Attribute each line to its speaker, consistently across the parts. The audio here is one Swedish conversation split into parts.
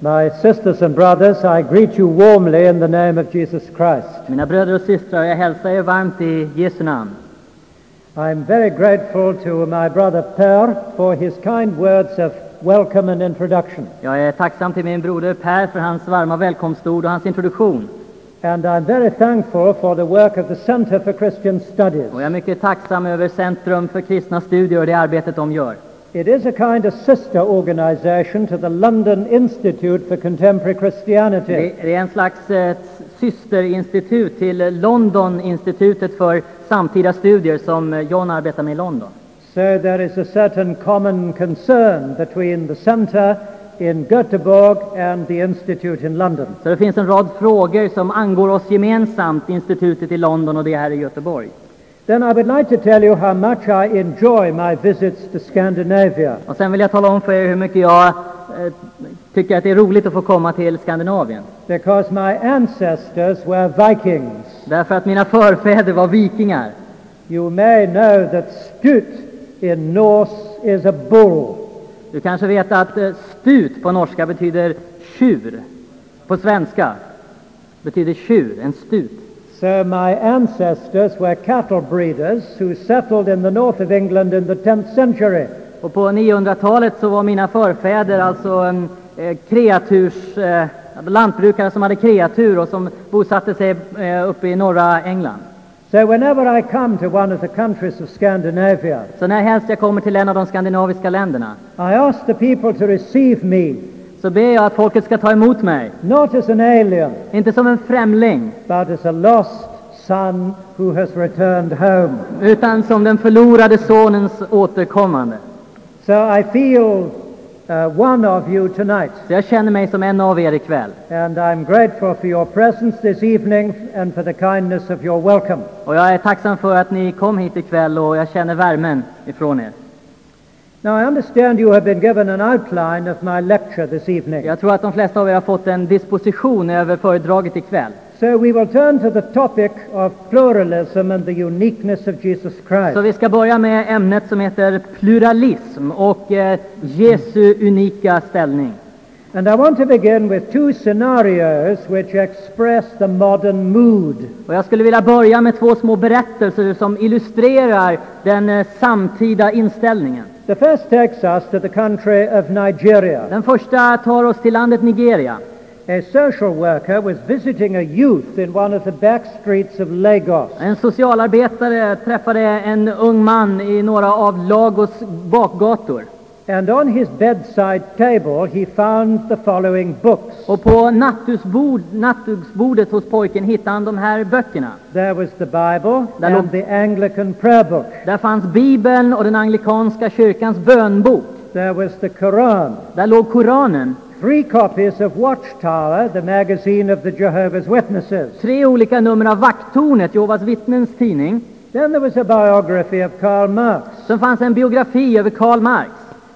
Speaker 1: My sisters and brothers, I greet you warmly in the name of Jesus Christ.
Speaker 2: Mina bröder och systrar, jag hälsar er varmt i Jesu namn.
Speaker 1: I'm very grateful to my brother Per for his kind words of welcome and introduction.
Speaker 2: Jag är tacksam till min broder Per för hans varma välkomstord och hans introduktion.
Speaker 1: And I'm very thankful for the work of the Center for Christian Studies.
Speaker 2: Och jag är mycket tacksam över Centrum för kristna studier och det arbetet de gör.
Speaker 1: It is a kind of sister organization to the London Institute for Contemporary
Speaker 2: Det
Speaker 1: Christianity.
Speaker 2: det är en slags eh, systerinstitut till Londoninstitutet för samtida studier som eh, John arbetar med i London.
Speaker 1: So there is a certain common concern between the center in Göteborg and the institute in London.
Speaker 2: Så det finns en rad frågor som angår oss gemensamt, institutet i London och det här i Göteborg.
Speaker 1: Then I would like to tell you how much I enjoy my visits to Scandinavia.
Speaker 2: Och sen vill jag tala om för er hur mycket jag eh, tycker att det är roligt att få komma till Skandinavien.
Speaker 1: Because my ancestors were Vikings.
Speaker 2: Därför att mina förfäder var vikingar.
Speaker 1: You may know that Stut in Norse is a bull.
Speaker 2: Du kanske vet att eh, stut på norska betyder tjur. På svenska betyder tjur, en stut.
Speaker 1: So my ancestors were cattle breeders who settled in the north of England in the 10th century.
Speaker 2: Och på 900-talet så var mina förfäder alltså en, eh, kreaturs, eh, lantbrukare som hade kreatur och som bosatte sig eh, uppe i norra England.
Speaker 1: So whenever I come to one of the countries of Scandinavia,
Speaker 2: Så när helst jag kommer till en av de skandinaviska länderna
Speaker 1: I ask the people to receive me
Speaker 2: så ber jag att folket ska ta emot mig.
Speaker 1: not as an alien,
Speaker 2: Inte som en främling,
Speaker 1: but as a lost son who has returned home.
Speaker 2: utan som den förlorade sonens återkommande.
Speaker 1: So I feel uh, one of you tonight,
Speaker 2: Så jag känner mig som en av er ikväll.
Speaker 1: and I'm grateful for your presence this evening and for the kindness of your welcome.
Speaker 2: Och jag är tacksam för att ni kom hit ikväll och jag känner värmen ifrån er.
Speaker 1: Now, I understand you have been given an outline of my lecture this evening.
Speaker 2: Jag tror att de flesta av er har fått en disposition över föredraget ikväll.
Speaker 1: So we will turn to the topic of pluralism and the uniqueness of Jesus Christ.
Speaker 2: Så vi ska börja med ämnet som heter pluralism och eh, Jesu unika ställning.
Speaker 1: and I want to begin with two scenarios which express the modern mood.
Speaker 2: Och jag skulle vilja börja med två små berättelser som illustrerar den eh, samtida inställningen.
Speaker 1: The first takes us to the country of Nigeria.
Speaker 2: Den första tar oss till landet Nigeria.
Speaker 1: A social worker was visiting a youth in one of the back streets of Lagos.
Speaker 2: En socialarbetare träffade en ung man i några av Lagos bakgator.
Speaker 1: And on his bedside table, he found the following books.
Speaker 2: Och på nattduksbord, nattduksbordet hos pojken hittade han de här böckerna.
Speaker 1: There was the Bible
Speaker 2: Där låg-
Speaker 1: and the Anglican prayer book.
Speaker 2: Där fanns Bibeln och den anglikanska kyrkans bönbok.
Speaker 1: There was the Quran,
Speaker 2: Där låg Koranen.
Speaker 1: three copies of Watchtower, the magazine of the Jehovah's Witnesses.
Speaker 2: Tre olika nummer av Vakttornet, Jehovas vittnens tidning.
Speaker 1: Then there was a biography of Karl Marx
Speaker 2: Sen fanns en biografi över Karl Marx.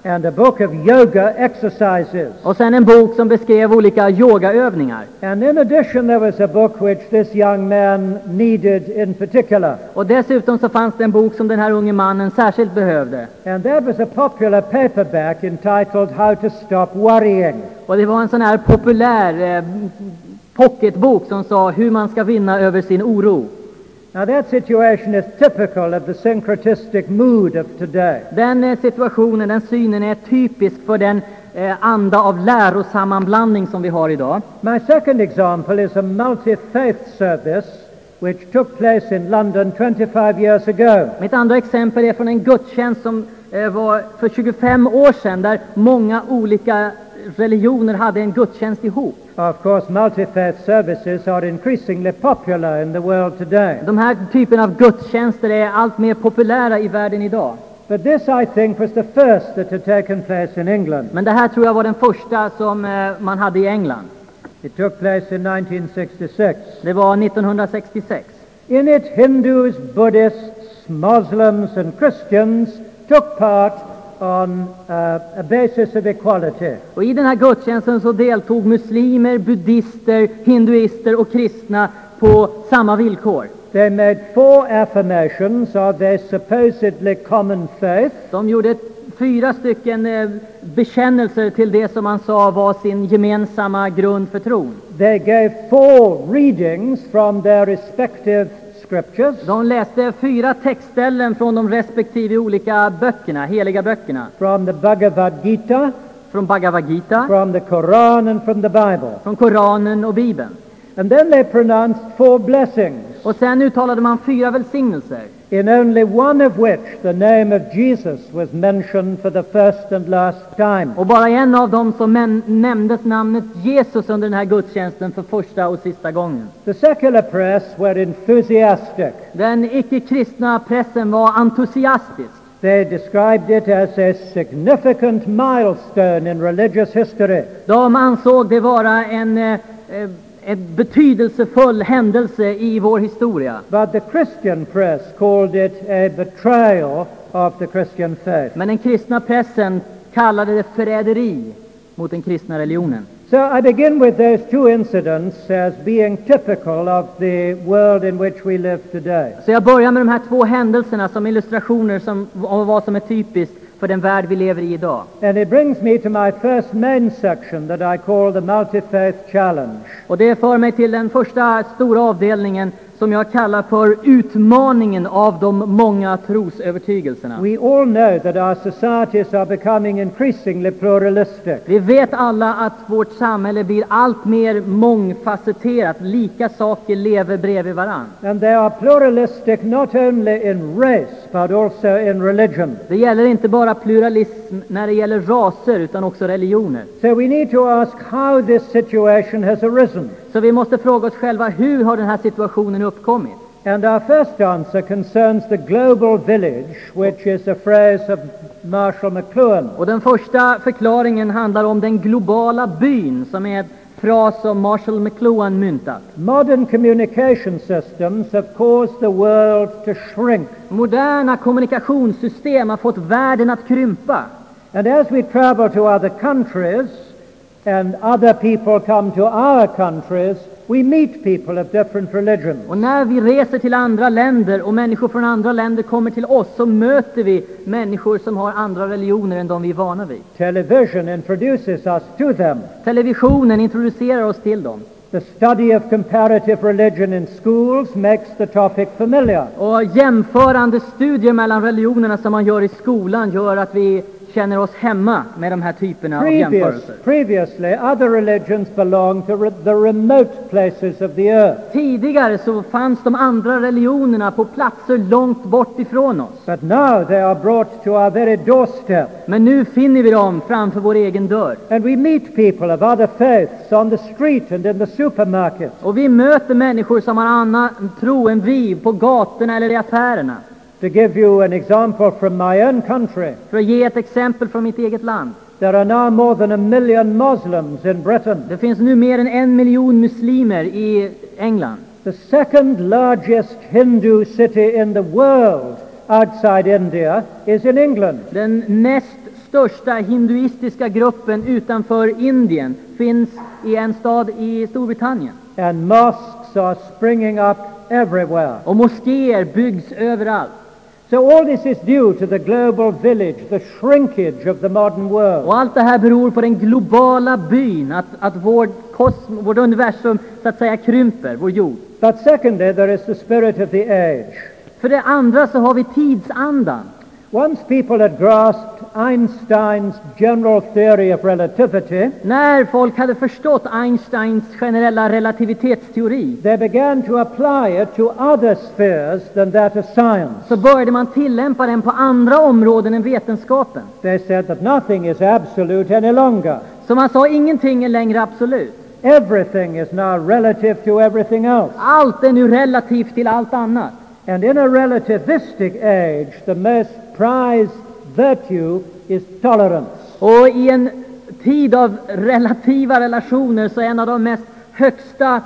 Speaker 1: and a book of yoga exercises.
Speaker 2: Och sen en bok som beskrev olika yogaövningar.
Speaker 1: And in addition, there was a book which this young man needed in particular,
Speaker 2: Och dessutom så fanns det en bok som den här unge mannen särskilt behövde.
Speaker 1: and that was a popular paperback entitled How to Stop Worrying.
Speaker 2: Och det var en sån här populär eh, pocketbok som sa hur man ska vinna över sin oro.
Speaker 1: Now, that situation is typical of the syncretistic mood of today.
Speaker 2: Den eh, situationen, den synen är typisk för den eh, anda av lärosammanblandning som vi har idag.
Speaker 1: My second example is a multi-faith service which took place in London 25 years ago.
Speaker 2: Mitt andra exempel är från en gudstjänst som eh, var för 25 år sedan där många olika religioner hade en gudstjänst ihop.
Speaker 1: Of course, multi-faith services are increasingly popular in the world today.
Speaker 2: De här typen av gudstjänster är allt mer populära i världen idag.
Speaker 1: But this, I think, was the first that had taken place in England.
Speaker 2: Men det här tror jag var den första som eh, man hade i England.
Speaker 1: It took place in 1966.
Speaker 2: Det var 1966.
Speaker 1: In it, Hindus, Buddhists, Muslims, and Christians took part on uh, a basis of equality.
Speaker 2: Och i den här gudstjänsten så deltog muslimer, buddister, hinduister och kristna på samma villkor.
Speaker 1: They made four affirmations of their supposedly common faith.
Speaker 2: De gjorde fyra stycken eh, bekännelser till det som man sa var sin gemensamma grund för tron.
Speaker 1: They gave four readings from their respective scriptures
Speaker 2: De läste fyra textställen från de respektive olika böckerna, heliga böckerna.
Speaker 1: from the Bhagavad Gita,
Speaker 2: Från Bhagavad Gita,
Speaker 1: from the Quran, and from the Bible.
Speaker 2: från Koranen och Bibeln.
Speaker 1: And then they pronounced four blessings,
Speaker 2: Och sen uttalade man fyra välsignelser.
Speaker 1: in only one of which the name of Jesus was mentioned for the first and last time.
Speaker 2: Och bara i en av dem som men- nämndes namnet Jesus under den här gudstjänsten för första och sista gången.
Speaker 1: The secular press were enthusiastic.
Speaker 2: Den icke-kristna pressen var entusiastisk.
Speaker 1: They described it as a significant milestone in religious history.
Speaker 2: De ansåg det vara en, eh, eh, en betydelsefull händelse i vår historia.
Speaker 1: But the Christian press called it a betrayal of the Christian faith.
Speaker 2: Men den kristna pressen kallade det förräderi mot den kristna religionen.
Speaker 1: So I begin with those two incidents as being typical of the world in which we live today.
Speaker 2: Så jag börjar med de här två händelserna som illustrationer som, av vad som är typiskt för den värld vi lever i idag.
Speaker 1: And it brings me to my first main section that I call the multi-faith challenge.
Speaker 2: Och det för mig till den första stora avdelningen som jag kallar för utmaningen av de många trosövertygelserna.
Speaker 1: We all know that our societies are becoming increasingly pluralistic.
Speaker 2: Vi vet alla att vårt samhälle blir allt mer mångfacetterat. Lika saker lever bredvid varann.
Speaker 1: And they are pluralistic not only in race, but also in religion.
Speaker 2: Det gäller inte bara pluralism när det gäller raser utan också religioner.
Speaker 1: So we need to ask how this situation has arisen.
Speaker 2: Så vi måste fråga oss själva hur har den här situationen uppkommit?
Speaker 1: And our first answer concerns the global village, which is a phrase of Marshall McLuhan.
Speaker 2: Och den första förklaringen handlar om den globala byn som är en fras som Marshall McLuhan myntat.
Speaker 1: Modern communication systems have caused the world to shrink.
Speaker 2: Moderna kommunikationssystem har fått världen att krympa.
Speaker 1: And as we travel to other countries and other people come to our countries, we meet people of different religions.
Speaker 2: Och när vi reser till andra länder och människor från andra länder kommer till oss så möter vi människor som har andra religioner än de vi är vana vid.
Speaker 1: Television introduces us to them.
Speaker 2: Televisionen introducerar oss till dem.
Speaker 1: The study of comparative religion in schools makes the topic familiar.
Speaker 2: Och jämförande studier mellan religionerna som man gör i skolan gör att vi känner oss hemma med de här typerna av
Speaker 1: Previous,
Speaker 2: jämförelser.
Speaker 1: previously, other religions belonged to re- the remote places of the earth.
Speaker 2: Tidigare så fanns de andra religionerna på platser långt bort ifrån oss.
Speaker 1: But now they are brought to our very doorstep.
Speaker 2: Men nu finner vi dem framför vår egen dörr.
Speaker 1: And we meet people of other faiths on the street and in the supermarket.
Speaker 2: Och vi möter människor som har annan tro än vi på gatorna eller i affärerna.
Speaker 1: To give you an example from my own country,
Speaker 2: För att ge ett exempel från mitt eget land.
Speaker 1: there are now more than a million Muslims in Britain,
Speaker 2: Det finns nu mer än en miljon muslimer i England.
Speaker 1: the second largest Hindu city in the world outside India is in England.
Speaker 2: Den näst största hinduistiska gruppen utanför Indien finns i en stad i Storbritannien.
Speaker 1: And mosques are springing up everywhere.
Speaker 2: Och moskéer byggs överallt.
Speaker 1: So all this is due to the global village, the shrinkage of the modern world.
Speaker 2: Och allt det här beror på den globala byn, att, att vårt, kosm, vårt universum så att säga krymper, vår jord.
Speaker 1: But secondly, there is the spirit of the age.
Speaker 2: För det andra så har vi tidsandan.
Speaker 1: Once people had grasped Einstein's general theory of relativity,
Speaker 2: När folk hade förstått Einsteins generella relativitetsteori
Speaker 1: They began to apply it to other spheres than that of science.
Speaker 2: så började man tillämpa den på andra områden än vetenskapen.
Speaker 1: They said that nothing is absolute any longer.
Speaker 2: Så man sa ingenting är längre absolut.
Speaker 1: Everything is now relative to everything else.
Speaker 2: Allt är nu relativt till allt annat.
Speaker 1: And in a relativistic age, the most prized virtue is tolerance.
Speaker 2: Och i en tid av relativa relationer så är en av de mest högsta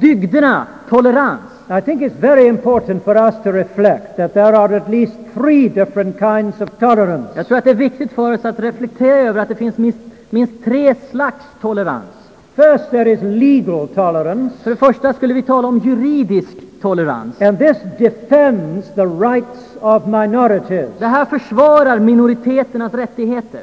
Speaker 2: dygderna tolerans.
Speaker 1: I think it's very important for us to reflect that there are at least three different kinds of tolerance.
Speaker 2: Jag tror att det är viktigt för oss att reflektera över att det finns minst, minst tre slags tolerans.
Speaker 1: First, there is legal tolerance,
Speaker 2: För det första skulle vi tala om juridisk tolerans.
Speaker 1: and this defends the rights of minorities.
Speaker 2: Det här försvarar minoriteternas rättigheter.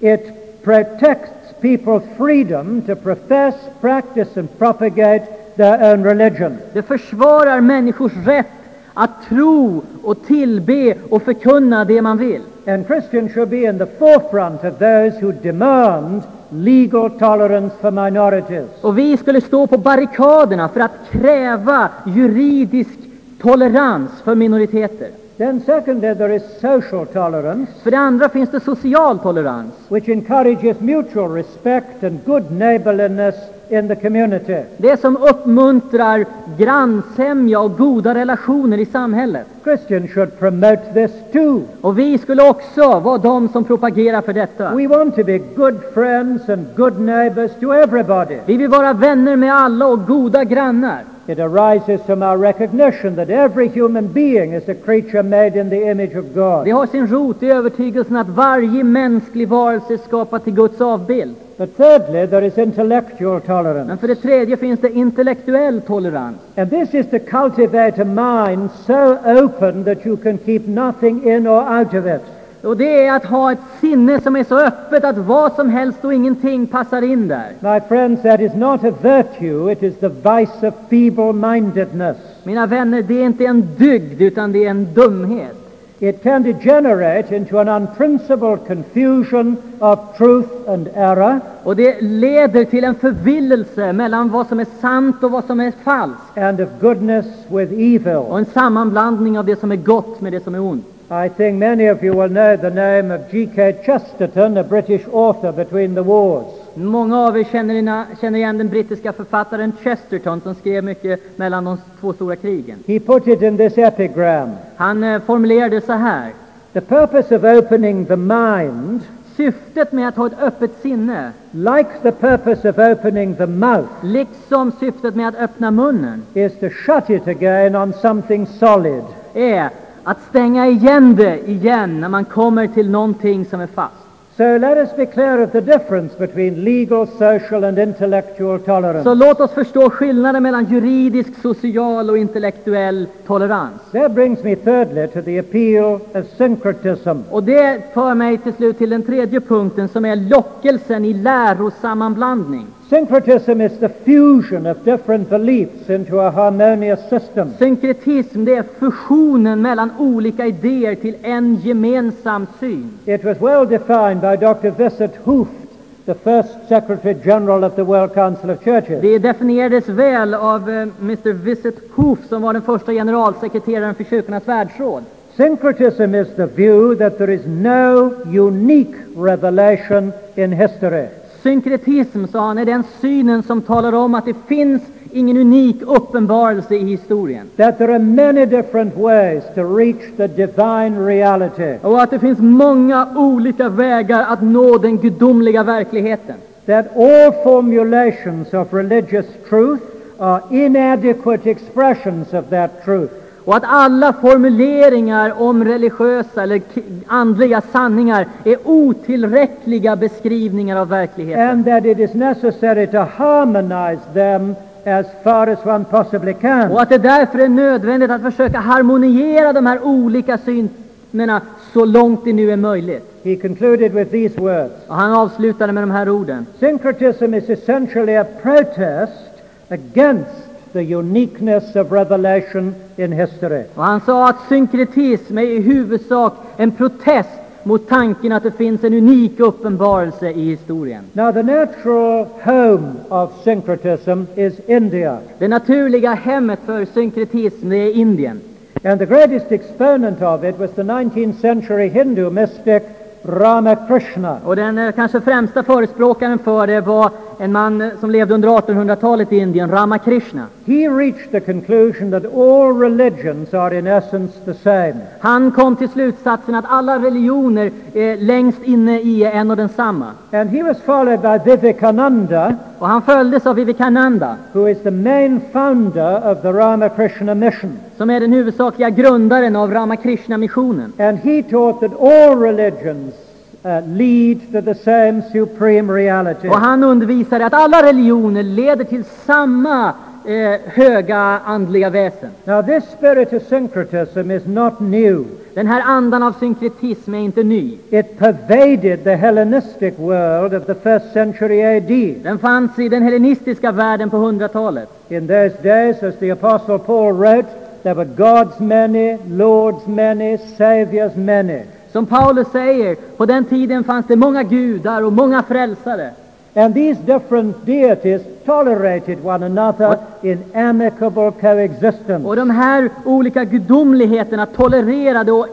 Speaker 1: It protects people's freedom to profess, practice, and propagate their own religion.
Speaker 2: Det försvarar människors rätt att tro och tillbe och förkunna det man vill.
Speaker 1: And Christians should be in the forefront of those who demand legal tolerance for minorities.
Speaker 2: Och vi skulle stå på barrikaderna för att kräva juridisk tolerans för minoriteter.
Speaker 1: Then, secondly, there is social tolerance,
Speaker 2: För det andra finns det social tolerans.
Speaker 1: which encourages mutual respect and good neighborliness in the community.
Speaker 2: Det som uppmuntrar grannsämja och goda relationer i samhället.
Speaker 1: Christians should promote this too.
Speaker 2: Och vi skulle också vara de som propagerar för detta.
Speaker 1: We want to be good friends and good neighbors to everybody.
Speaker 2: Vi vill vara vänner med alla och goda grannar.
Speaker 1: It arises from our recognition that every human being is a creature made in the image of God.
Speaker 2: Det har sin rot i övertygelsen att varje mänsklig varelse är skapad till Guds avbild.
Speaker 1: But thirdly, there is intellectual
Speaker 2: Men
Speaker 1: tolerance.
Speaker 2: för det tredje finns det intellektuell tolerans.
Speaker 1: And this is to cultivate a mind so open that you can keep nothing in or out of it.
Speaker 2: Och det är att ha ett sinne som är så öppet att vad som helst och ingenting passar in där.
Speaker 1: My friends, that is not a virtue, it is the vice of feeble mindedness.
Speaker 2: Mina vänner, det är inte en dygd utan det är en dumhet.
Speaker 1: It can degenerate into an unprincipled confusion of truth and error
Speaker 2: Och det leder till en förvillelse mellan vad som är sant och vad som är falskt.
Speaker 1: and of goodness with
Speaker 2: Och
Speaker 1: evil.
Speaker 2: en sammanblandning av det som är gott med det som är ont.
Speaker 1: I think many of you will know the name of G.K. Chesterton, a British author between the wars.
Speaker 2: Många av er känner, ina, känner igen den brittiska författaren Chesterton som skrev mycket mellan de två stora krigen.
Speaker 1: He put it in this epigram.
Speaker 2: Han eh, formulerade så här.
Speaker 1: The purpose of opening the mind,
Speaker 2: Syftet med att ha ett öppet sinne,
Speaker 1: like the purpose of opening the mouth,
Speaker 2: liksom syftet med att öppna munnen,
Speaker 1: is to shut it again on something solid.
Speaker 2: är att stänga igen det igen när man kommer till någonting som är fast.
Speaker 1: So let us be clear of the difference between legal, social, and intellectual
Speaker 2: Så
Speaker 1: tolerance.
Speaker 2: låt oss förstå skillnaden mellan juridisk, social och intellektuell tolerans.
Speaker 1: That brings me, thirdly, to the appeal of syncretism.
Speaker 2: Och det för mig till slut till den tredje punkten som är lockelsen i lärosammanblandning.
Speaker 1: Syncretism is the fusion of different beliefs into a harmonious system.
Speaker 2: Synkretism, det är fusionen mellan olika idéer till en gemensam syn.
Speaker 1: It was well defined by Dr. Vincent Hooft, the first Secretary General of the World Council of Churches.
Speaker 2: Det definierades väl av eh, Mr. Visit Hoof som var den första generalsekreteraren för Kyrkornas världsråd.
Speaker 1: Syncretism is the view that there is no unique revelation in history.
Speaker 2: Synkretism, sa han, är den synen som talar om att det finns ingen unik uppenbarelse i historien.
Speaker 1: That there are many different ways to reach the divine reality.
Speaker 2: Och att det finns många olika vägar att nå den gudomliga verkligheten.
Speaker 1: That all formulations of religious truth are inadequate expressions of that truth.
Speaker 2: Och att alla formuleringar om religiösa eller k- andliga sanningar är otillräckliga beskrivningar av verkligheten.
Speaker 1: And that it is necessary to harmonize them as far as one possibly can.
Speaker 2: Och att det därför är nödvändigt att försöka harmoniera de här olika synerna så långt det nu är möjligt.
Speaker 1: He concluded with these words.
Speaker 2: Och han avslutade med de här orden.
Speaker 1: Syncretism is essentially a protest against the uniqueness of revelation in history.
Speaker 2: Och han sa att synkretism är i huvudsak en protest mot tanken att det finns en unik uppenbarelse i historien.
Speaker 1: Now, the natural home of syncretism is India,
Speaker 2: Det naturliga hemmet för synkretism det är Indien.
Speaker 1: and the greatest exponent of it was the 19th century Hindu mystic Ramakrishna.
Speaker 2: Och den eh, kanske främsta förespråkaren för det var en man eh, som levde under 1800-talet i Indien, Ramakrishna.
Speaker 1: He reached the conclusion that all religions are in essence the same.
Speaker 2: Han kom till slutsatsen att alla religioner eh, längst inne i är en och densamma.
Speaker 1: And he was followed by Vivekananda,
Speaker 2: Och han följdes av Vivekananda,
Speaker 1: who is the main founder of the Ramakrishna mission.
Speaker 2: som är den huvudsakliga grundaren av Ramakrishna-missionen.
Speaker 1: And he taught that all religions uh, lead to the same supreme reality.
Speaker 2: Och han undervisade att alla religioner leder till samma eh, höga andliga väsen.
Speaker 1: Now, this spirit of syncretism is not new.
Speaker 2: Den här andan av synkretism är inte ny.
Speaker 1: It pervaded the Hellenistic world of the first century AD.
Speaker 2: Den fanns i den hellenistiska världen på 100-talet.
Speaker 1: In those days, as the Apostle Paul wrote, there were gods many, lords many, saviours many.
Speaker 2: Som Paulus säger, på den tiden fanns det många gudar och många frälsare.
Speaker 1: And these different deities tolerated one another in amicable coexistence.
Speaker 2: Och de här olika gudomligheterna tolererade och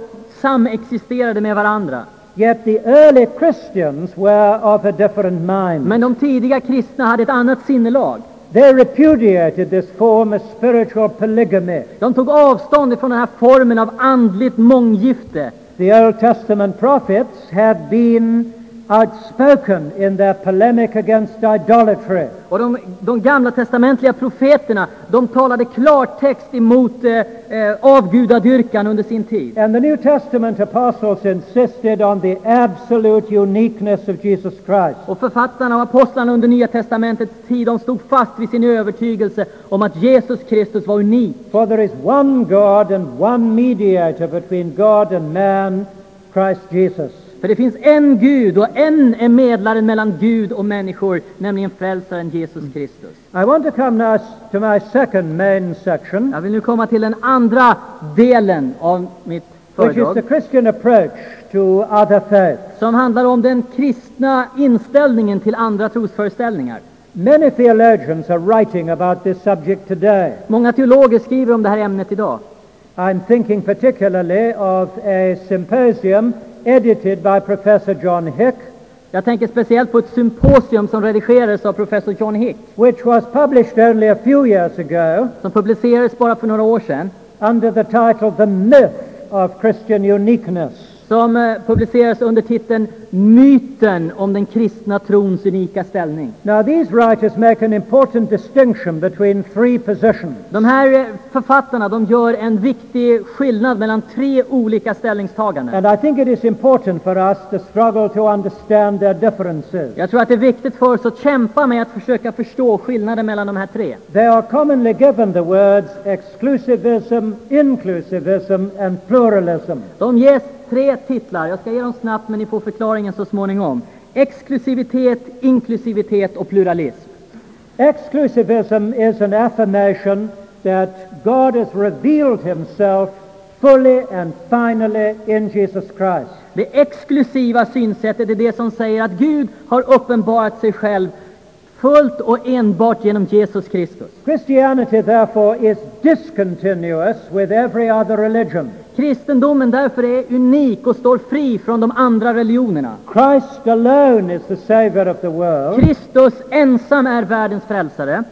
Speaker 2: samexisterade med varandra.
Speaker 1: Yet the early Christians were of a different mind.
Speaker 2: Men de tidiga kristna hade ett annat sinnelag.
Speaker 1: They repudiated this form of spiritual polygamy.
Speaker 2: De tog avstånd ifrån den här formen av andligt månggifte.
Speaker 1: The Old Testament prophets have been outspoken in their polemic against idolatry.
Speaker 2: Och de, de gamla testamentliga profeterna, de talade klartext emot eh, eh, avgudadyrkan under sin tid.
Speaker 1: And the New Testament apostles insisted on the absolute uniqueness of Jesus Christ.
Speaker 2: Och författarna och apostlarna under Nya Testamentets tid, de stod fast vid sin övertygelse om att Jesus Kristus var unik.
Speaker 1: For there is one God and one mediator between God and man, Christ Jesus.
Speaker 2: För det finns en Gud och en är medlaren mellan Gud och människor, nämligen frälsaren Jesus Kristus.
Speaker 1: I want to come now s- to my second main section,
Speaker 2: Jag vill nu komma till den andra delen av mitt
Speaker 1: which is
Speaker 2: föredrag,
Speaker 1: the Christian approach to other faiths.
Speaker 2: som handlar om den kristna inställningen till andra trosföreställningar.
Speaker 1: Many theologians are writing about this subject today.
Speaker 2: Många teologer skriver om det här ämnet idag.
Speaker 1: I'm thinking particularly of a symposium edited by Professor John Hick,
Speaker 2: Jag tänker speciellt på ett symposium som redigerades av professor John Hick,
Speaker 1: which was published only a few years ago
Speaker 2: som publicerades bara för några år sedan,
Speaker 1: under the title The Myth of Christian Uniqueness.
Speaker 2: som eh, publicerades under titeln Myten om den kristna trons unika ställning.
Speaker 1: Now, these writers make an important distinction between three positions.
Speaker 2: De här eh, författarna de gör en viktig skillnad mellan tre olika ställningstaganden.
Speaker 1: And I think it is important for us to struggle to understand their differences.
Speaker 2: Jag tror att det är viktigt för oss att kämpa med att försöka förstå skillnaden mellan de här tre.
Speaker 1: They are commonly given the words exclusivism, inclusivism, and pluralism.
Speaker 2: De ges tre titlar. Jag ska ge dem snabbt, men ni får förklaringen så småningom. Exklusivitet, inklusivitet och pluralism.
Speaker 1: Exclusivism is an affirmation that God has revealed himself fully and finally in Jesus Christ.
Speaker 2: Det exklusiva synsättet är det som säger att Gud har uppenbarat sig själv fullt och enbart genom Jesus Kristus.
Speaker 1: Christianity, therefore, is discontinuous with every other religion.
Speaker 2: Kristendomen därför är unik och står fri från de andra religionerna.
Speaker 1: Christ alone is the Savior of the world,
Speaker 2: Kristus ensam är världens frälsare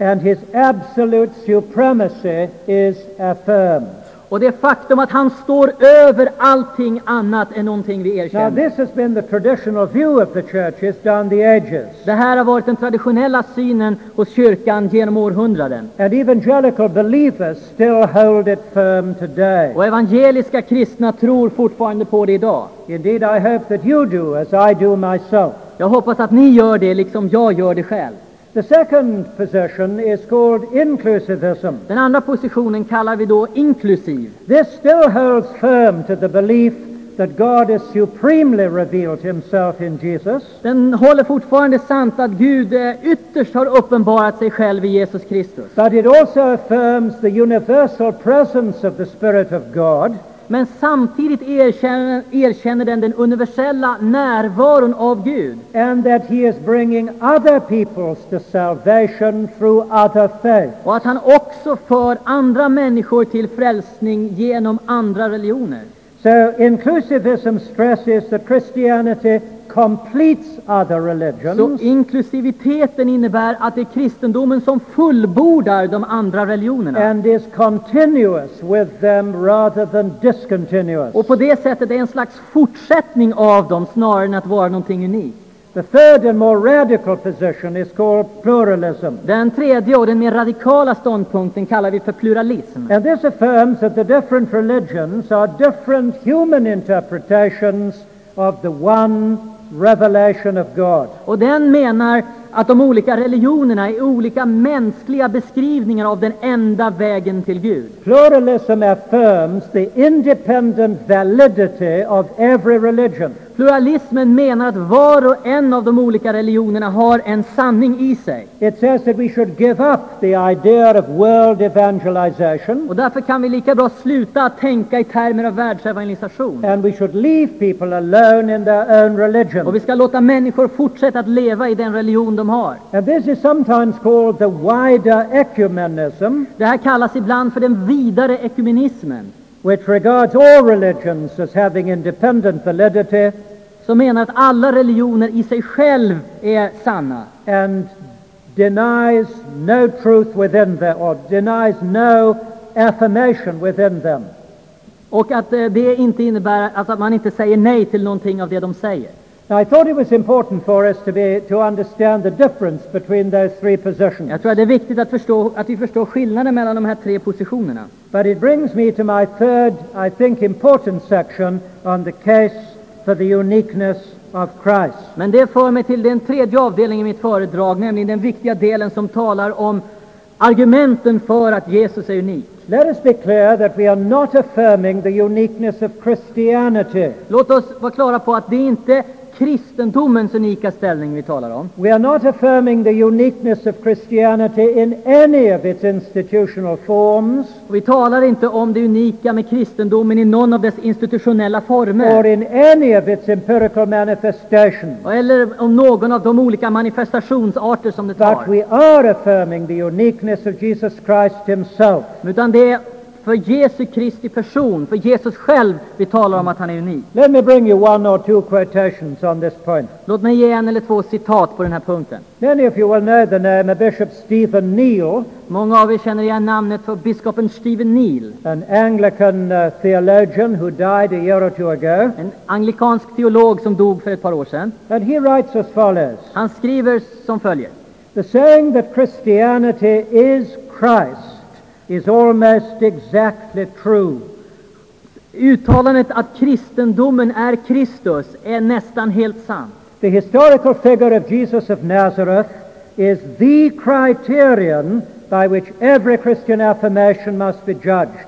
Speaker 1: and his absolute supremacy is affirmed.
Speaker 2: och det faktum att han står över allting annat är någonting vi
Speaker 1: Now,
Speaker 2: erkänner.
Speaker 1: this has been the traditional view of the churches down the ages,
Speaker 2: Det här har varit den traditionella synen hos kyrkan genom århundraden.
Speaker 1: and evangelical believers still hold it firm today.
Speaker 2: Och evangeliska kristna tror fortfarande på det idag.
Speaker 1: Indeed, I hope that you do, as I do myself.
Speaker 2: Jag hoppas att ni gör det liksom jag gör det själv.
Speaker 1: The second position is called inclusivism.
Speaker 2: Den andra positionen kallar vi då inklusiv.
Speaker 1: This still holds firm to the belief that God has supremely revealed himself in Jesus.
Speaker 2: Den håller fortfarande sant att Gud eh, ytterst har uppenbarat sig själv i Jesus Kristus.
Speaker 1: But it also affirms the universal presence of the Spirit of God
Speaker 2: Men samtidigt erkänner, erkänner den den universella närvaron av Gud
Speaker 1: and that He is bringing other peoples to salvation through other faith.
Speaker 2: och att han också för andra människor till frälsning genom andra religioner.
Speaker 1: So inclusivism stresses that Christianity completes other
Speaker 2: Så
Speaker 1: religions
Speaker 2: inklusiviteten innebär att det är kristendomen som fullbordar de andra religionerna
Speaker 1: and is continuous with them rather than discontinuous.
Speaker 2: och på det sättet är en slags fortsättning av dem snarare än att vara någonting unikt.
Speaker 1: The third and more radical position is called pluralism.
Speaker 2: Den tredje och den mer radikala ståndpunkten kallar vi för pluralism.
Speaker 1: And this affirms that the different religions are different human interpretations of the one revelation of God.
Speaker 2: Och den menar att de olika religionerna är olika mänskliga beskrivningar av den enda vägen till Gud.
Speaker 1: Pluralism affirms the independent validity of every religion.
Speaker 2: Pluralismen menar att var och en av de olika religionerna har en sanning i sig.
Speaker 1: It says that we should give up the idea of world evangelization
Speaker 2: Och därför kan vi lika bra sluta att tänka i termer av världsevangelisation.
Speaker 1: and we should leave people alone in their own
Speaker 2: Och
Speaker 1: religion.
Speaker 2: vi ska låta människor fortsätta att leva i den religion de har.
Speaker 1: And this is sometimes called the wider ecumenism,
Speaker 2: Det här kallas ibland för den vidare ekumenismen,
Speaker 1: which regards all religions as having independent validity
Speaker 2: som menar att alla religioner i sig själv är sanna.
Speaker 1: and denies no truth within them or denies no affirmation within them.
Speaker 2: Och att eh, det inte innebär alltså att man inte säger nej till någonting av det de säger.
Speaker 1: Now, I thought it was important for us to, be, to understand the difference between those three positions.
Speaker 2: Jag tror att det är viktigt att, förstå, att vi förstår skillnaden mellan de här tre positionerna.
Speaker 1: But it brings me to my third, I think, important section on the case for the uniqueness of Christ.
Speaker 2: Men det för mig till den tredje avdelningen i mitt föredrag, nämligen den viktiga delen som talar om argumenten för att Jesus är unik.
Speaker 1: Let us be clear that we are not affirming the uniqueness of Christianity.
Speaker 2: Låt oss vara klara på att det är inte kristendomens unika ställning vi talar om.
Speaker 1: We are not affirming the uniqueness of Christianity in any of its institutional forms
Speaker 2: Och vi talar inte om det unika med kristendomen i någon av dess institutionella
Speaker 1: or
Speaker 2: former.
Speaker 1: in any of its empirical manifestations.
Speaker 2: Eller om någon av de olika manifestationsarter som det
Speaker 1: But
Speaker 2: tar.
Speaker 1: we are affirming the uniqueness of Jesus Christ himself.
Speaker 2: Utan det är för Jesu Kristi person, för Jesus själv, vi talar om att han är unik.
Speaker 1: Let me bring you one or two quotations on this point.
Speaker 2: Låt mig ge en eller två citat på den här punkten.
Speaker 1: Many of you will know the name of Bishop Stephen Neal,
Speaker 2: Många av er känner igen namnet för biskopen Stephen Neal,
Speaker 1: an Anglican uh, theologian who died a year or two ago.
Speaker 2: en anglikansk teolog som dog för ett par år sedan.
Speaker 1: And he writes as follows
Speaker 2: Han skriver som följer.
Speaker 1: The saying that Christianity is Christ is almost exactly true.
Speaker 2: Uttalandet att kristendomen är Kristus är nästan helt sant.
Speaker 1: The historical figure of Jesus of Nazareth is the criterion by which every Christian affirmation must be judged.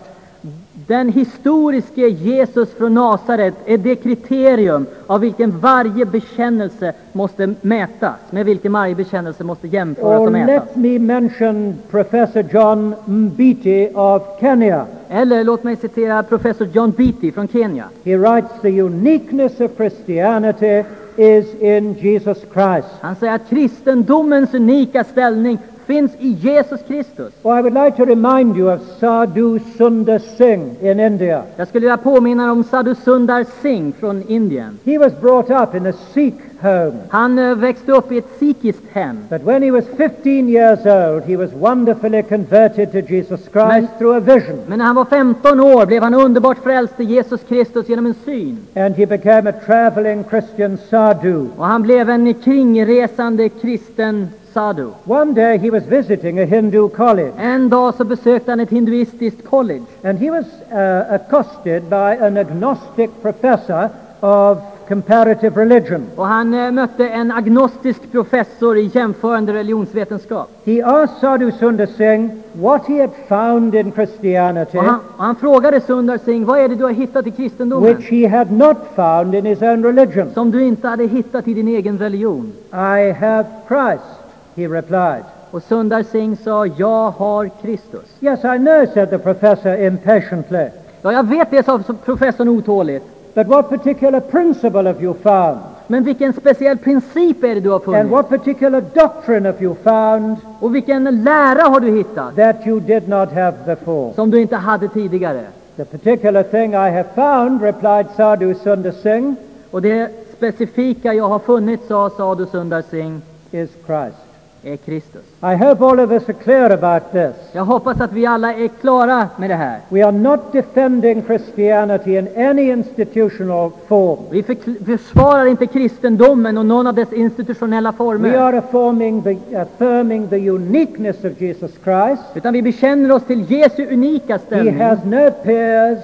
Speaker 2: Den historiske Jesus från Nasaret är det kriterium av vilken varje bekännelse måste mätas, med vilken varje bekännelse måste jämföras
Speaker 1: Or
Speaker 2: och mätas.
Speaker 1: Oh, let me mention Professor John Mbiti of Kenya.
Speaker 2: Eller låt mig citera professor John Beatty från Kenya.
Speaker 1: He writes, The uniqueness of Christianity is in Jesus Christ.
Speaker 2: Han säger att kristendomens unika ställning finns i Jesus Kristus.
Speaker 1: Well, I would like to remind you of Sadhu Sundar Singh in India.
Speaker 2: Jag skulle vilja påminna om Sadhu Sundar Singh från Indien.
Speaker 1: He was brought up in a Sikh home,
Speaker 2: Han eh, växte upp i ett sikiskt hem.
Speaker 1: but when he was 15 years old, he was wonderfully converted to Jesus Christ through a vision,
Speaker 2: Men när han var 15 år blev han underbart frälst till Jesus Kristus genom en syn.
Speaker 1: and he became a traveling Christian sadhu.
Speaker 2: Och han blev en kringresande kristen sadhu.
Speaker 1: One day he was visiting a Hindu college.
Speaker 2: En dag så besökte han ett hinduistiskt college.
Speaker 1: And he was uh, accosted by an agnostic professor of comparative religion.
Speaker 2: Och han eh, mötte en agnostisk professor i jämförande religionsvetenskap.
Speaker 1: He asked Sadhu Sundar Singh what he had found in Christianity,
Speaker 2: Och han, och han frågade Sundar Singh, vad är det du har hittat i kristendomen?
Speaker 1: which he had not found in his own religion.
Speaker 2: Som du inte hade hittat i din egen religion?
Speaker 1: I have Christ, he replied.
Speaker 2: Och Sundar Singh sa, jag har Kristus.
Speaker 1: Yes, I know, said the professor impatiently.
Speaker 2: Ja, jag vet det, sa professorn otåligt.
Speaker 1: But what particular principle have you found?
Speaker 2: Men vilken speciell princip är det du har
Speaker 1: And
Speaker 2: funnit?
Speaker 1: what particular doctrine have you found
Speaker 2: Och vilken lära har du hittat
Speaker 1: that you did not have before?
Speaker 2: som du inte hade tidigare?
Speaker 1: The particular thing I have found, replied Sadhu Sundar Singh,
Speaker 2: Och det specifika jag har funnit, sa Sadhu Sundar Singh,
Speaker 1: is Christ.
Speaker 2: är Kristus.
Speaker 1: I hope all of us are clear about this.
Speaker 2: Jag hoppas att vi alla är klara med det här.
Speaker 1: We are not defending Christianity in any institutional form.
Speaker 2: Vi förkl- försvarar inte kristendomen och någon av dess institutionella
Speaker 1: We
Speaker 2: former.
Speaker 1: are affirming the, affirming the uniqueness of Jesus Christ.
Speaker 2: Utan vi bekänner oss till Jesu unika
Speaker 1: He
Speaker 2: ställning.
Speaker 1: has no peers,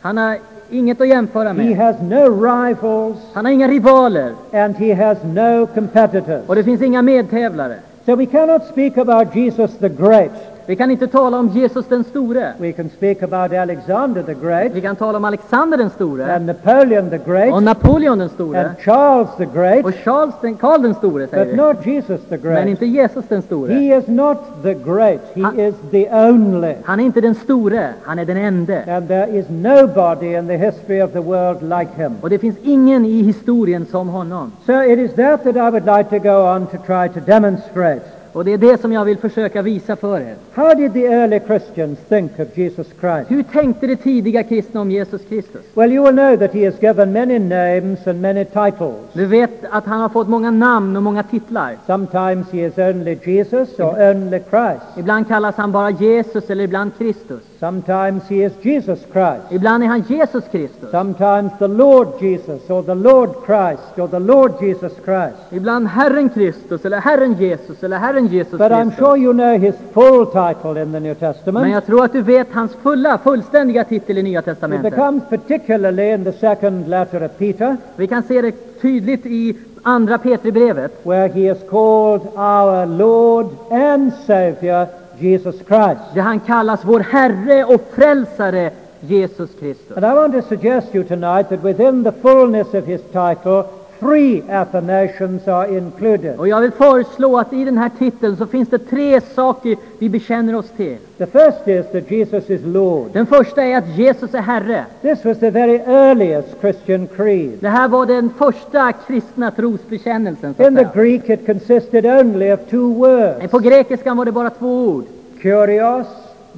Speaker 2: Han har inget att jämföra
Speaker 1: He
Speaker 2: med.
Speaker 1: has no rivals
Speaker 2: Han har inga rivaler
Speaker 1: and he has no competitors.
Speaker 2: och det finns inga medtävlare.
Speaker 1: So we cannot speak about Jesus the Great.
Speaker 2: Vi kan inte tala om Jesus den store.
Speaker 1: We can speak about Alexander the Great
Speaker 2: Vi kan tala om Alexander den store
Speaker 1: and Napoleon the
Speaker 2: och
Speaker 1: Great
Speaker 2: Napoleon den store
Speaker 1: and Charles the Great,
Speaker 2: och Charles den, Karl den store säger
Speaker 1: but
Speaker 2: vi.
Speaker 1: not Jesus the
Speaker 2: Men
Speaker 1: Great.
Speaker 2: inte Jesus den store.
Speaker 1: He is not the Great. He
Speaker 2: Han-
Speaker 1: is the only.
Speaker 2: Han är inte den store, han är den ende.
Speaker 1: And there is nobody in the history of the world like him.
Speaker 2: Och det finns ingen i historien som honom.
Speaker 1: So it is that that I would like to go on to try to demonstrate.
Speaker 2: Och det är det som jag vill försöka visa för er.
Speaker 1: How did the early Christians think of Jesus Christ?
Speaker 2: Hur tänkte de tidiga kristna om Jesus Kristus?
Speaker 1: Well, you will know that he is given many names and many titles.
Speaker 2: Du vet att han har fått många namn och många titlar.
Speaker 1: Sometimes he is only Jesus or only Christ.
Speaker 2: Ibland kallas han bara Jesus eller ibland Kristus.
Speaker 1: Sometimes he is Jesus Christ.
Speaker 2: Ibland är han Jesus Kristus.
Speaker 1: Sometimes the Lord Jesus or the Lord Christ or the Lord Jesus Christ.
Speaker 2: Ibland Herren Kristus eller Herren Jesus eller Herren Jesus
Speaker 1: But I'm
Speaker 2: Kristus.
Speaker 1: sure you know his full title in the New
Speaker 2: Men
Speaker 1: Testament.
Speaker 2: jag tror att du vet hans fulla, fullständiga titel i Nya
Speaker 1: It
Speaker 2: Testamentet.
Speaker 1: becomes particularly in the second letter of Peter,
Speaker 2: Vi kan se det tydligt i Andra Petribrevet.
Speaker 1: where he is called our Lord and Savior, Jesus Christ.
Speaker 2: där han kallas vår Herre och Frälsare Jesus Kristus.
Speaker 1: And I want to suggest to you tonight that within the fullness of his title, three affirmations are included.
Speaker 2: Och jag vill föreslå att i den här titeln så finns det tre saker vi bekänner oss till.
Speaker 1: The first is that Jesus is Lord.
Speaker 2: Den första är att Jesus är Herre.
Speaker 1: This was the very earliest Christian creed.
Speaker 2: Det här var den första kristna trosbekännelsen. Så att
Speaker 1: In the
Speaker 2: säga.
Speaker 1: Greek, it consisted only of two words,
Speaker 2: På grekiskan var det bara två ord.
Speaker 1: kurios,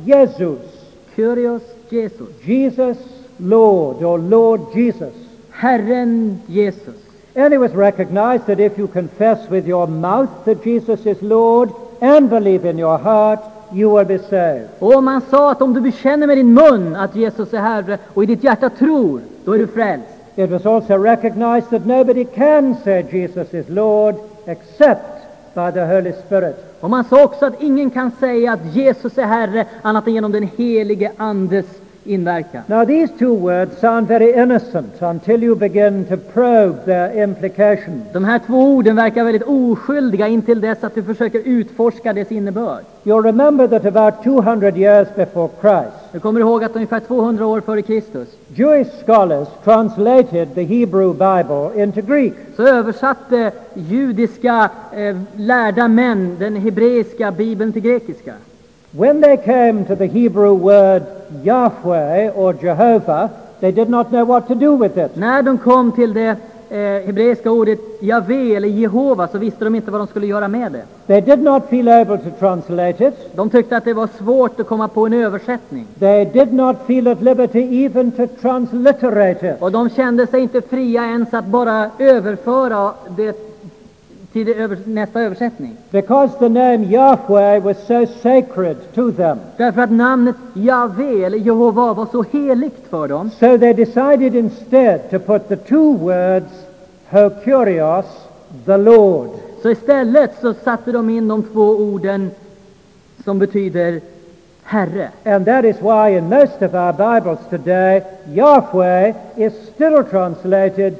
Speaker 1: Jesus,
Speaker 2: Kyrios Jesus.
Speaker 1: Jesus Lord, or Lord Jesus.
Speaker 2: Herren Jesus.
Speaker 1: And it was recognized that if you confess with your mouth that Jesus is Lord and believe in your heart, you will be saved.
Speaker 2: Och om man sa att om du bekänner med din mun att Jesus är Herre och i ditt hjärta tror, då är du frälst.
Speaker 1: It was also recognized that nobody can say Jesus is Lord except by the Holy Spirit.
Speaker 2: Och man sa också att ingen kan säga att Jesus är Herre annat än genom den helige Andes inverkan.
Speaker 1: Now, these two words sound very innocent until you begin to probe their implications.
Speaker 2: De här två orden verkar väldigt oskyldiga intill dess att du försöker utforska dess innebörd.
Speaker 1: You'll remember that about 200 years before Christ,
Speaker 2: Du kommer ihåg att ungefär 200 år före Kristus
Speaker 1: Jewish scholars translated the Hebrew Bible into Greek.
Speaker 2: så översatte judiska eh, lärda män den hebreiska bibeln till grekiska.
Speaker 1: When they came to the Hebrew word Yahweh or Jehovah, they did not know what to do with it.
Speaker 2: När de kom till det eh, hebreiska ordet Jave eller Jehova så visste de inte vad de skulle göra med det.
Speaker 1: They did not feel able to translate it.
Speaker 2: De tyckte att det var svårt att komma på en översättning.
Speaker 1: They did not feel at liberty even to transliterate it.
Speaker 2: Och de kände sig inte fria ens att bara överföra det till det över, nästa översättning.
Speaker 1: Because the name Yahweh was so sacred to them,
Speaker 2: Därför att namnet Jave eller Jehova var så heligt för dem.
Speaker 1: so they decided instead to put the two words Hokurios, the Lord.
Speaker 2: Så istället så satte de in de två orden som betyder Herre.
Speaker 1: And that is why in most of our Bibles today, Yahweh is still translated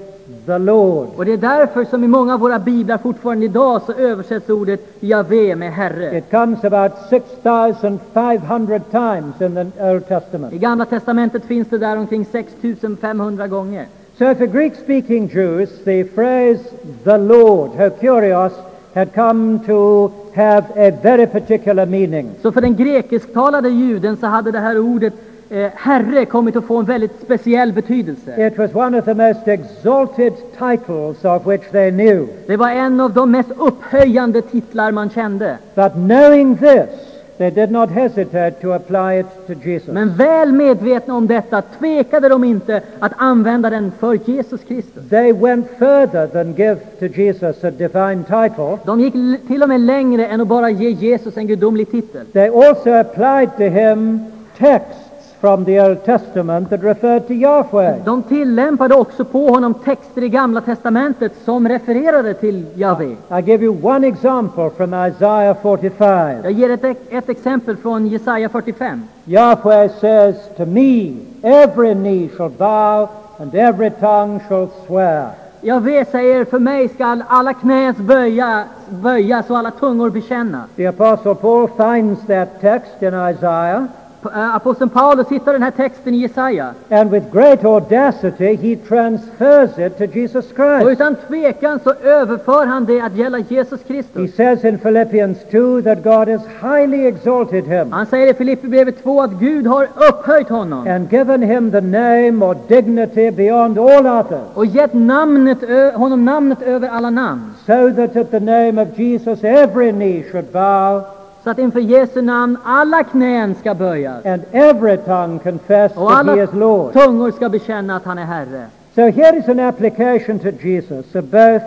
Speaker 1: the Lord.
Speaker 2: Och det är därför som i många av våra biblar fortfarande idag så översätts ordet Jave med Herre.
Speaker 1: It comes about 6,500 times in the Old Testament.
Speaker 2: I Gamla Testamentet finns det där omkring 6500 gånger.
Speaker 1: So for Greek-speaking Jews, the phrase the Lord, Hokurios, had come to have a very particular meaning.
Speaker 2: Så för den grekisktalande juden så hade det här ordet eh, herre kommit att få en väldigt speciell betydelse.
Speaker 1: It was one of the most exalted titles of which they knew.
Speaker 2: Det var en av de mest upphöjande titlar man kände.
Speaker 1: But knowing this, they did not hesitate to apply it to Jesus.
Speaker 2: Men väl medvetna om detta tvekade de inte att använda den för Jesus Kristus.
Speaker 1: They went further than give to Jesus a divine title.
Speaker 2: De gick l- till och med längre än att bara ge Jesus en gudomlig titel.
Speaker 1: They also applied to him texts from the Old Testament that referred to Yahweh.
Speaker 2: De tillämpade också på honom texter i Gamla Testamentet som refererade till Jahve.
Speaker 1: I give you one example from Isaiah 45.
Speaker 2: Jag ger ett, ett exempel från Jesaja 45.
Speaker 1: Yahweh says to me, Every knee shall bow and every tongue shall swear.
Speaker 2: Jahve säger, för mig skall alla knäs böja, böjas och alla tungor bekänna.
Speaker 1: The Apostle Paul finds that text in Isaiah,
Speaker 2: P- eh, Aposteln Paulus hittar den här texten i Jesaja.
Speaker 1: and with great audacity he transfers it to Jesus
Speaker 2: Och
Speaker 1: Christ.
Speaker 2: utan tvekan så överför han det att gälla Jesus
Speaker 1: He
Speaker 2: Kristus.
Speaker 1: says in Philippians 2 that God has highly exalted him
Speaker 2: Han säger i Filipperbrevet 2 att Gud har upphöjt honom
Speaker 1: and given him the name or dignity beyond all others,
Speaker 2: och gett namnet, ö- honom namnet över alla namn.
Speaker 1: so that at the name of Jesus every knee should bow
Speaker 2: Så att inför Jesu namn alla knän ska böjas
Speaker 1: and every tongue confess
Speaker 2: och
Speaker 1: that
Speaker 2: alla
Speaker 1: he is Lord.
Speaker 2: tungor ska bekänna att han är Herre.
Speaker 1: So here is an application to Jesus of both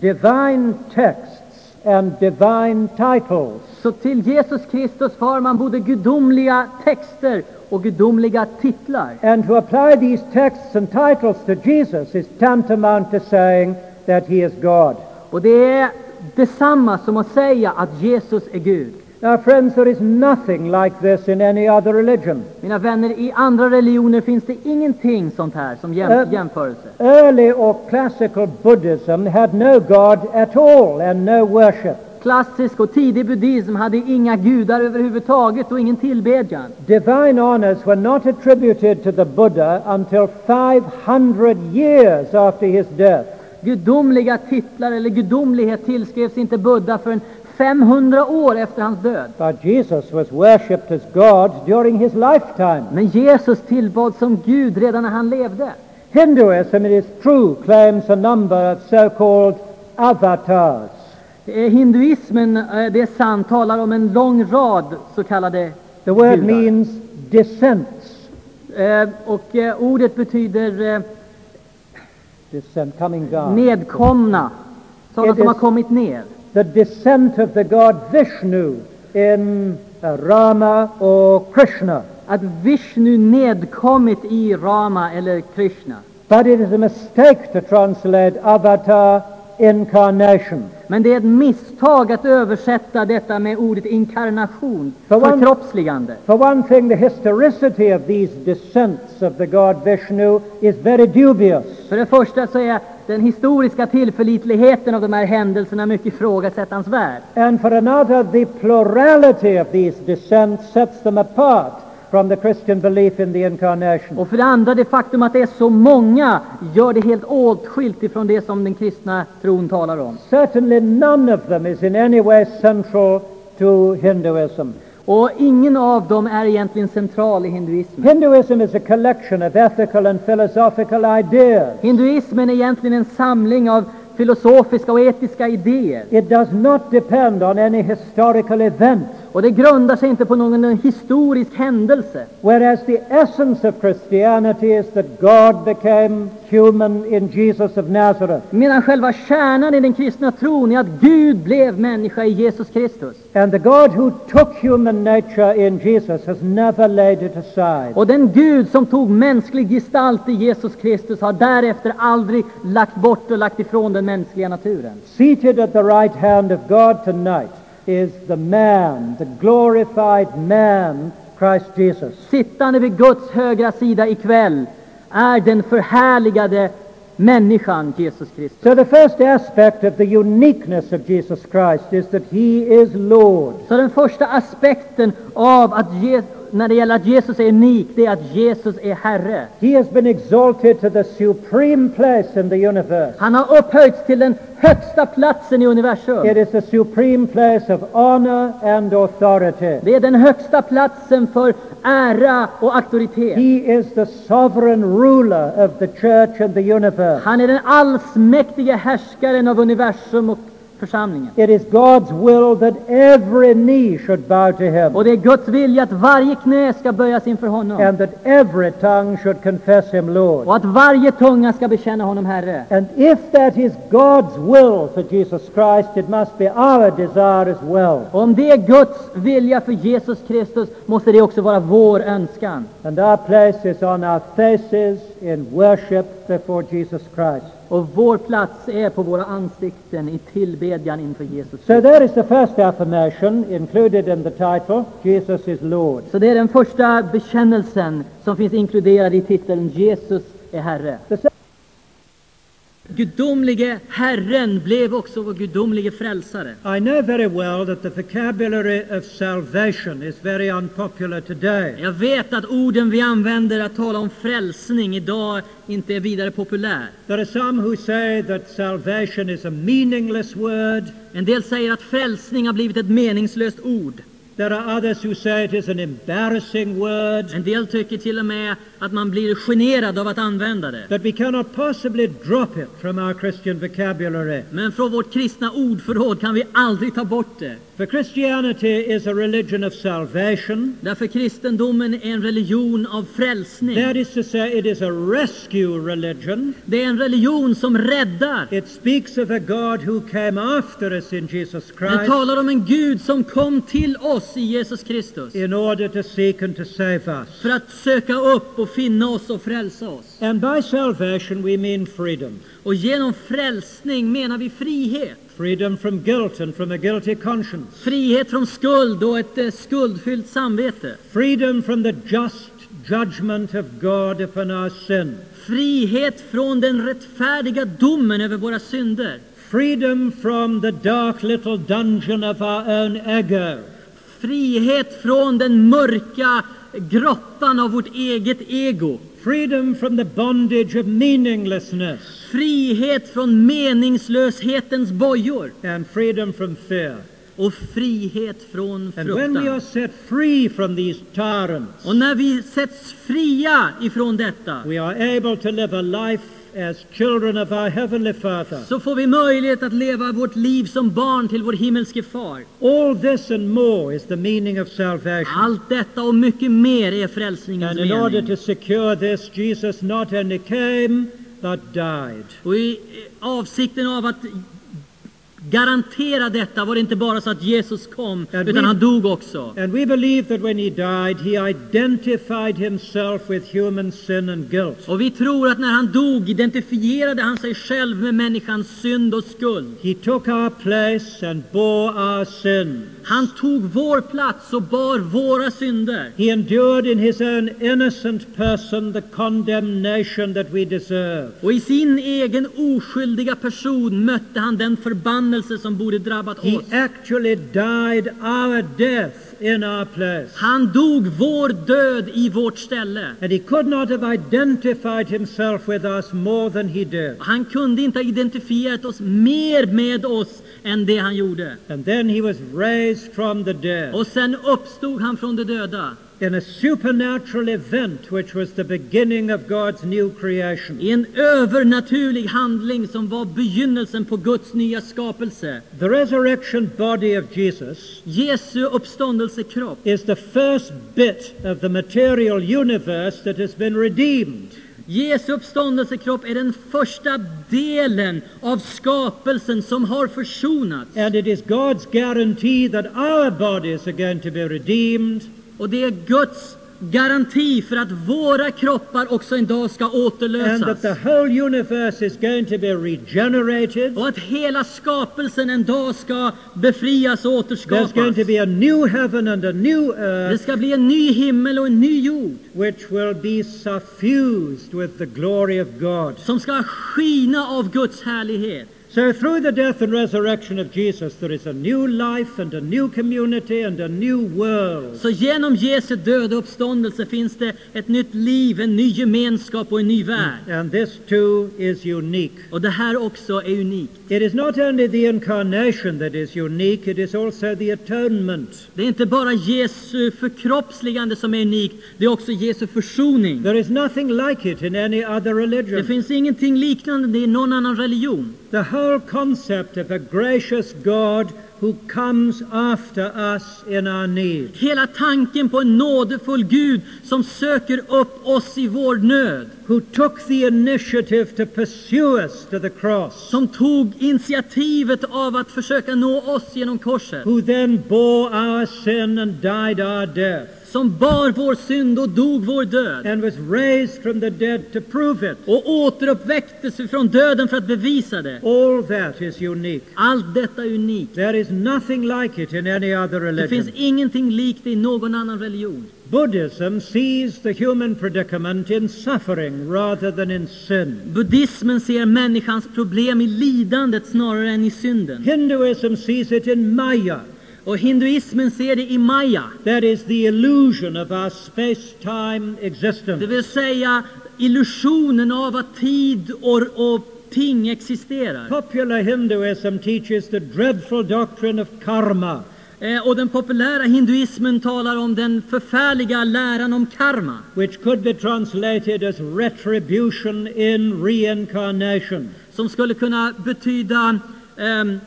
Speaker 1: divine texts and divine titles.
Speaker 2: Så till Jesus Kristus för man både gudomliga texter och gudomliga titlar.
Speaker 1: And to apply these texts and titles to Jesus is tantamount to saying that he is God.
Speaker 2: Och det är detsamma som att säga att Jesus är Gud.
Speaker 1: Now, friends, there is nothing like this in any other religion.
Speaker 2: Mina vänner, i andra religioner finns det ingenting sånt här som jäm-
Speaker 1: Äh.
Speaker 2: jämförelse.
Speaker 1: Early or classical Buddhism had no God at all and no worship.
Speaker 2: Klassisk och tidig buddhism hade inga gudar överhuvudtaget och ingen tillbedjan.
Speaker 1: Divine honors were not attributed to the Buddha until 500 years after his death.
Speaker 2: Gudomliga titlar eller gudomlighet tillskrevs inte Buddha förrän 500 år efter hans död.
Speaker 1: But Jesus was worshipped as God during his lifetime.
Speaker 2: Men Jesus tillbad som Gud redan när han levde.
Speaker 1: Hinduism, it is true, claims a number of so-called avatars.
Speaker 2: Eh, Hinduismen, eh, det är sant, talar om en lång rad så kallade
Speaker 1: The word
Speaker 2: gudar.
Speaker 1: means descents.
Speaker 2: Eh, Och eh, ordet betyder eh,
Speaker 1: Descent, coming down.
Speaker 2: nedkomna, sådana
Speaker 1: It
Speaker 2: som har
Speaker 1: is-
Speaker 2: kommit ner.
Speaker 1: The descent of the god Vishnu in uh, Rama or Krishna.
Speaker 2: Att Vishnu nedkommit i Rama eller Krishna.
Speaker 1: But it is a mistake to translate avatar incarnation.
Speaker 2: Men det är ett misstag att översätta detta med ordet inkarnation,
Speaker 1: För man-
Speaker 2: förkroppsligande.
Speaker 1: For one thing, the historicity of these descents of the god Vishnu is very dubious.
Speaker 2: För det första så är den historiska tillförlitligheten av de här händelserna mycket ifrågasättansvärd.
Speaker 1: And for another, the plurality of these descents sets them apart from the Christian belief in the incarnation.
Speaker 2: Och för det andra, det faktum att det är så många gör det helt åtskilt ifrån det som den kristna tron talar om.
Speaker 1: Certainly none of them is in any way central to Hinduism.
Speaker 2: Och ingen av dem är egentligen central i hinduismen.
Speaker 1: Hinduism is a collection of ethical and philosophical ideas.
Speaker 2: Hinduismen är egentligen en samling av filosofiska och etiska idéer.
Speaker 1: It does not depend on any historical event,
Speaker 2: Och det grundar sig inte på någon historisk händelse.
Speaker 1: whereas the essence of Christianity is that God became human in Jesus of Nazareth.
Speaker 2: Medan själva kärnan i den kristna tron är att Gud blev människa i Jesus Kristus.
Speaker 1: And the God who took human nature in Jesus has never laid it aside.
Speaker 2: Och den Gud som tog mänsklig gestalt i Jesus Kristus har därefter aldrig lagt bort och lagt ifrån den mänskliga naturen.
Speaker 1: Seated at the right hand of God tonight is the man, the glorified man, Christ Jesus.
Speaker 2: Sittande vid Guds högra sida ikväll är den förhärligade människan Jesus Kristus.
Speaker 1: So the first aspect of the uniqueness of Jesus Christ is that he is Lord.
Speaker 2: Så den första aspekten av att Je- när det gäller att Jesus är unik, det är att Jesus är Herre.
Speaker 1: He has been exalted to the supreme place in the universe.
Speaker 2: Han har upphöjts till den högsta platsen i universum.
Speaker 1: It is the supreme place of honor and authority.
Speaker 2: Det är den högsta platsen för ära och auktoritet.
Speaker 1: He is the sovereign ruler of the church and the universe.
Speaker 2: Han är den allsmäktige härskaren av universum och församlingen.
Speaker 1: It is God's will that every knee should bow to him
Speaker 2: Och det är Guds vilja att varje knä ska böjas inför honom.
Speaker 1: and that every tongue should confess him
Speaker 2: Och
Speaker 1: Lord.
Speaker 2: att varje tunga ska bekänna honom Herre.
Speaker 1: And if that is God's will for Jesus Christ, it must be our desire as well.
Speaker 2: Och om det är Guds vilja för Jesus Kristus måste det också vara vår önskan.
Speaker 1: And our place is on our faces in worship before Jesus Christ.
Speaker 2: Och vår plats är på våra ansikten i tillbedjan inför Jesus
Speaker 1: So
Speaker 2: Kristus.
Speaker 1: there is the first affirmation included in the title, Jesus is Lord.
Speaker 2: Så det är den första bekännelsen som finns inkluderad i titeln Jesus är Herre.
Speaker 1: The se-
Speaker 2: Gudomlige Herren blev också vår gudomlige frälsare.
Speaker 1: I know very well that the vocabulary of salvation is very unpopular today.
Speaker 2: Jag vet att orden vi använder att tala om frälsning idag inte är vidare populär.
Speaker 1: There are some who say that salvation is a meaningless word.
Speaker 2: En del säger att frälsning har blivit ett meningslöst ord.
Speaker 1: There are others who say it is an embarrassing word,
Speaker 2: En del tycker till och med att man blir generad av att använda det.
Speaker 1: that we cannot possibly drop it from our Christian vocabulary.
Speaker 2: Men från vårt kristna ordförråd kan vi aldrig ta bort det.
Speaker 1: For Christianity is a religion of salvation.
Speaker 2: Därför kristendomen är en religion av frälsning.
Speaker 1: That is to say, it is a rescue religion.
Speaker 2: Det är en religion som räddar.
Speaker 1: It speaks of a God who came after us in Jesus
Speaker 2: Den
Speaker 1: Christ
Speaker 2: talar om en Gud som kom till oss i Jesus Kristus
Speaker 1: in order to seek and to save us.
Speaker 2: för att söka upp och finna oss och frälsa oss.
Speaker 1: And by salvation, we mean freedom
Speaker 2: Och genom frälsning menar vi frihet.
Speaker 1: freedom from guilt and from a guilty conscience,
Speaker 2: Frihet från skuld och ett eh, skuldfyllt samvete.
Speaker 1: freedom from the just judgment of God upon our sin.
Speaker 2: Frihet från den rättfärdiga domen över våra synder.
Speaker 1: Freedom from the dark little dungeon of our own ego.
Speaker 2: Frihet från den mörka grottan av vårt eget ego.
Speaker 1: Freedom from the bondage of meaninglessness.
Speaker 2: Frihet från meningslöshetens bojor.
Speaker 1: And freedom from fear.
Speaker 2: Och frihet från
Speaker 1: And when we are
Speaker 2: fruktan.
Speaker 1: set free from these tyrants,
Speaker 2: Och när vi sätts fria ifrån detta
Speaker 1: we are able to live a life as children of our Heavenly Father.
Speaker 2: så får vi möjlighet att leva vårt liv som barn till vår himmelske far.
Speaker 1: All this and more is the meaning of salvation.
Speaker 2: Allt detta och mycket mer är frälsningens
Speaker 1: And in order
Speaker 2: mening.
Speaker 1: to secure this, Jesus not only came, but died.
Speaker 2: Och i eh, avsikten av att garantera detta var det inte bara så att Jesus kom,
Speaker 1: And
Speaker 2: utan
Speaker 1: we-
Speaker 2: han dog också.
Speaker 1: And we believe that when he died, he identified himself with human sin and guilt.
Speaker 2: Och vi tror att när han dog identifierade han sig själv med människans synd och skuld.
Speaker 1: He took our place and bore our sin.
Speaker 2: Han tog vår plats och bar våra synder.
Speaker 1: He endured in his own innocent person the condemnation that we deserve.
Speaker 2: Och i sin egen oskyldiga person mötte han den förbannelse som borde drabbat
Speaker 1: He
Speaker 2: oss.
Speaker 1: actually died our death in our place.
Speaker 2: Han dog vår död i vårt ställe.
Speaker 1: And he could not have identified himself with us more than he did.
Speaker 2: Han kunde inte ha identifierat oss mer med oss än det han gjorde.
Speaker 1: And then he was raised from the dead
Speaker 2: Och sen uppstod han från de döda
Speaker 1: in a supernatural event which was the beginning of God's new creation.
Speaker 2: i en övernaturlig handling som var begynnelsen på Guds nya skapelse.
Speaker 1: The resurrection body of Jesus
Speaker 2: Jesu uppståndelsekropp
Speaker 1: is the first bit of the material universe that has been redeemed.
Speaker 2: Jesu uppståndelsekropp är den första delen av skapelsen som har försonats.
Speaker 1: And it is God's guarantee that our bodies are going to be redeemed
Speaker 2: Och det är Guds garanti för att våra kroppar också en dag ska
Speaker 1: and that the
Speaker 2: återlösas.
Speaker 1: whole universe is going to be regenerated.
Speaker 2: Och att hela skapelsen en dag ska befrias och
Speaker 1: There's
Speaker 2: återskapas.
Speaker 1: going to be a new heaven and a new
Speaker 2: Det
Speaker 1: earth
Speaker 2: ska bli en ny himmel och en ny jord
Speaker 1: which will be suffused with the glory of God.
Speaker 2: som ska skina av Guds härlighet.
Speaker 1: So through the death and resurrection of Jesus, there is a new life and a new community and a new world.
Speaker 2: Så genom Jesu död och uppståndelse finns det ett nytt liv, en ny gemenskap och en ny värld.
Speaker 1: And this too is unique.
Speaker 2: Och det här också är unikt.
Speaker 1: It is not only the incarnation that is unique, it is also the atonement.
Speaker 2: Det är inte bara Jesu förkroppsligande som är unikt, det är också Jesu försoning.
Speaker 1: There is nothing like it in any other
Speaker 2: Det
Speaker 1: religion.
Speaker 2: finns ingenting liknande i någon annan religion.
Speaker 1: the whole concept of a gracious God who comes after us in our need.
Speaker 2: Hela tanken på en nådefull Gud som söker upp oss i vår nöd.
Speaker 1: who took the initiative to pursue us to the cross,
Speaker 2: Som tog initiativet av att försöka nå oss genom korset.
Speaker 1: who then bore our sin and died our death,
Speaker 2: Som bar vår synd och dog vår död.
Speaker 1: and was raised from the dead to prove it.
Speaker 2: Och återuppväcktes från döden för att bevisa det.
Speaker 1: All that is unique.
Speaker 2: Allt detta är unikt.
Speaker 1: There is nothing like it in any other
Speaker 2: Det finns
Speaker 1: religion.
Speaker 2: ingenting likt det i någon annan religion.
Speaker 1: Buddhism sees the human predicament in suffering rather than in sin.
Speaker 2: Buddhismen ser människans problem i lidandet snarare än i synden.
Speaker 1: Hinduism sees it in Maya,
Speaker 2: Och hinduismen ser det i maya,
Speaker 1: that is, the illusion of our space time
Speaker 2: det
Speaker 1: existence.
Speaker 2: vill säga illusionen av att tid och, och ting existerar.
Speaker 1: Popular Hinduism teaches the dreadful doctrine of karma,
Speaker 2: Eh, och den populära hinduismen talar om den förfärliga läran om karma,
Speaker 1: which could be translated as retribution in reincarnation.
Speaker 2: som skulle kunna betyda ehm,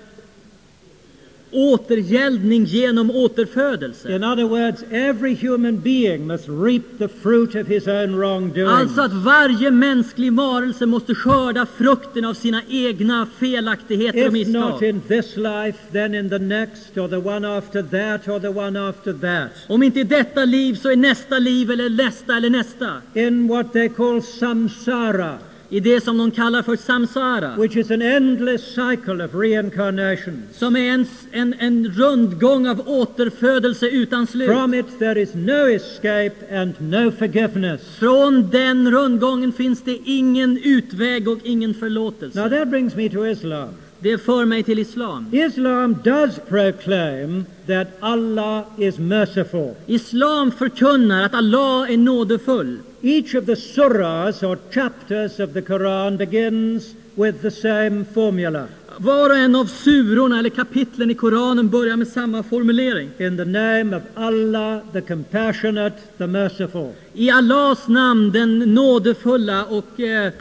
Speaker 2: återgäldning genom återfödelse.
Speaker 1: In other words, every human being must reap the fruit of his own wrongdoing.
Speaker 2: Alltså att varje mänsklig varelse måste skörda frukten av sina egna felaktigheter och
Speaker 1: If not
Speaker 2: misstag.
Speaker 1: in this life, then in the next, or the one after that, or the one after that.
Speaker 2: Om inte i detta liv så i nästa liv eller nästa eller nästa.
Speaker 1: In what they call samsara,
Speaker 2: I det som de kallar för samsara.
Speaker 1: which is an endless cycle of reincarnation.
Speaker 2: Som är en, en, en rundgång av återfödelse utan slut.
Speaker 1: From it there is no escape and no forgiveness.
Speaker 2: Från den rundgången finns det ingen utväg och ingen
Speaker 1: Now
Speaker 2: förlåtelse.
Speaker 1: that brings me to Islam.
Speaker 2: Det för mig till Islam.
Speaker 1: Islam does proclaim that Allah is merciful.
Speaker 2: Islam förkunnar att Allah är nådefull.
Speaker 1: Each of the surahs or chapters of the Quran begins with the same formula.
Speaker 2: Var och en av surorna eller kapitlen i Koranen börjar med samma formulering.
Speaker 1: In the name of Allah, the compassionate, the merciful.
Speaker 2: I Allahs namn, den nådefulla och eh,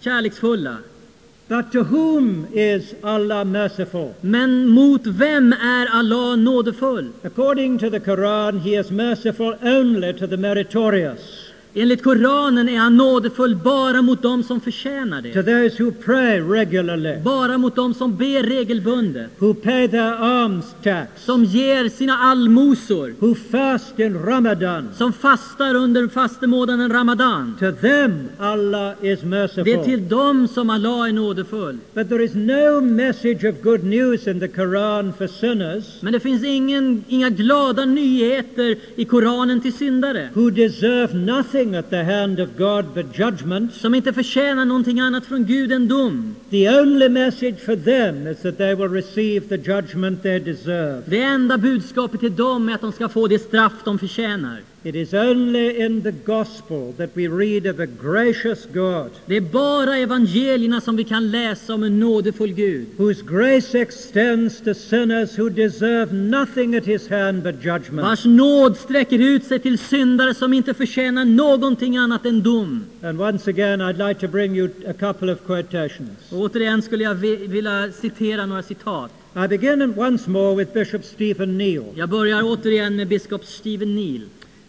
Speaker 2: kärleksfulla.
Speaker 1: But to whom is Allah merciful?
Speaker 2: Men mot vem är Allah nådefull?
Speaker 1: According to the Quran, He is merciful only to the meritorious,
Speaker 2: Enligt Koranen är han nådefull bara mot dem som förtjänar
Speaker 1: to
Speaker 2: det.
Speaker 1: those who pray regularly,
Speaker 2: Bara mot dem som ber regelbundet.
Speaker 1: who pay their alms tax,
Speaker 2: Som ger sina allmosor.
Speaker 1: who fast in Ramadan.
Speaker 2: Som fastar under fastemånaden Ramadan.
Speaker 1: To them, Allah is
Speaker 2: Det är
Speaker 1: merciful.
Speaker 2: till dem som Allah är nådefull.
Speaker 1: But there is no message of good news in the Quran for sinners
Speaker 2: Men det finns ingen, inga glada nyheter i Koranen till syndare.
Speaker 1: who deserve nothing at the hand of God but judgment.
Speaker 2: Som inte förtjänar någonting annat från Gud än dom.
Speaker 1: The only message for them is that they will receive the judgment they deserve.
Speaker 2: Det enda budskapet till dem är att de ska få det straff de förtjänar.
Speaker 1: It is only in the gospel that we read of a gracious God
Speaker 2: Det är bara evangelierna som vi kan läsa om en nådefull Gud.
Speaker 1: whose grace extends to sinners who deserve nothing at his hand but judgment.
Speaker 2: Vars nåd sträcker ut sig till syndare som inte förtjänar någonting annat än dom.
Speaker 1: And once again, I'd like to bring you a couple of quotations.
Speaker 2: Och återigen skulle jag vi- vilja citera några citat.
Speaker 1: I begin once more with Bishop Stephen Neal,
Speaker 2: Jag börjar återigen med biskop Stephen Neal.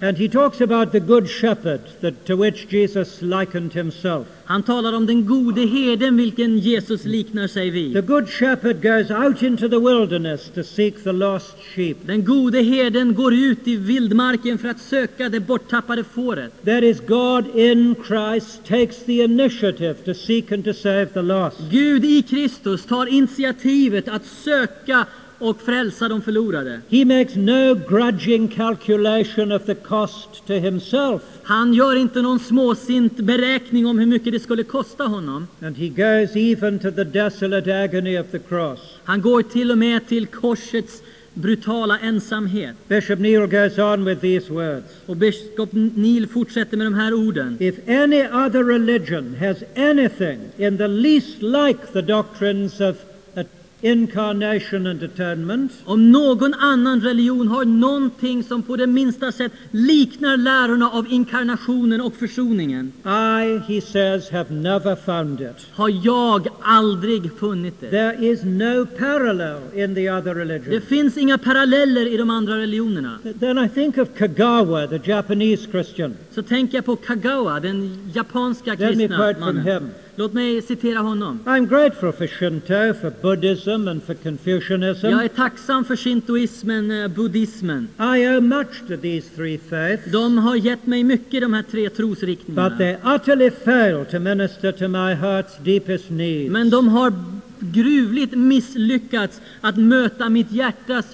Speaker 1: and he talks about the good shepherd that, to which Jesus likened himself.
Speaker 2: Han talar om den gode herden vilken Jesus liknar sig
Speaker 1: The
Speaker 2: vid.
Speaker 1: good shepherd goes out into the wilderness to seek the lost sheep.
Speaker 2: Den gode herden går ut i vildmarken för att söka det borttappade fåret.
Speaker 1: That is, God in Christ takes the initiative to seek and to save the lost.
Speaker 2: Gud i Kristus tar initiativet att söka och frälsa de förlorade.
Speaker 1: He makes no grudging calculation of the cost to himself,
Speaker 2: Han gör inte någon småsint beräkning om hur mycket det skulle kosta honom.
Speaker 1: and he goes even to the desolate agony of the cross.
Speaker 2: Han går till och med till korsets brutala ensamhet.
Speaker 1: Bishop Neal goes on with these words
Speaker 2: Och biskop Neil fortsätter med de här orden.
Speaker 1: If any other religion has anything in the least like the doctrines of uh, incarnation and atonement,
Speaker 2: Om någon annan religion har någonting som på det minsta sätt liknar lärorna av inkarnationen och försoningen,
Speaker 1: I, he says, have never found it.
Speaker 2: har jag aldrig funnit det.
Speaker 1: There is no parallel in the other
Speaker 2: Det
Speaker 1: religions.
Speaker 2: finns inga paralleller i de andra religionerna.
Speaker 1: Then I think of Kagawa, the Japanese Christian.
Speaker 2: Så tänker jag på Kagawa, den japanska
Speaker 1: Let me
Speaker 2: kristna
Speaker 1: quote from
Speaker 2: mannen.
Speaker 1: him.
Speaker 2: Låt mig citera honom.
Speaker 1: I'm grateful for Shinto, for Buddhism, and for
Speaker 2: Jag är
Speaker 1: Confucianism.
Speaker 2: tacksam för shintoismen, eh, buddhismen.
Speaker 1: I owe much to these three faiths,
Speaker 2: De har gett mig mycket, de här tre
Speaker 1: but
Speaker 2: trosriktningarna.
Speaker 1: they utterly fail to minister to my heart's deepest needs.
Speaker 2: Men de har gruvligt misslyckats att möta mitt hjärtas,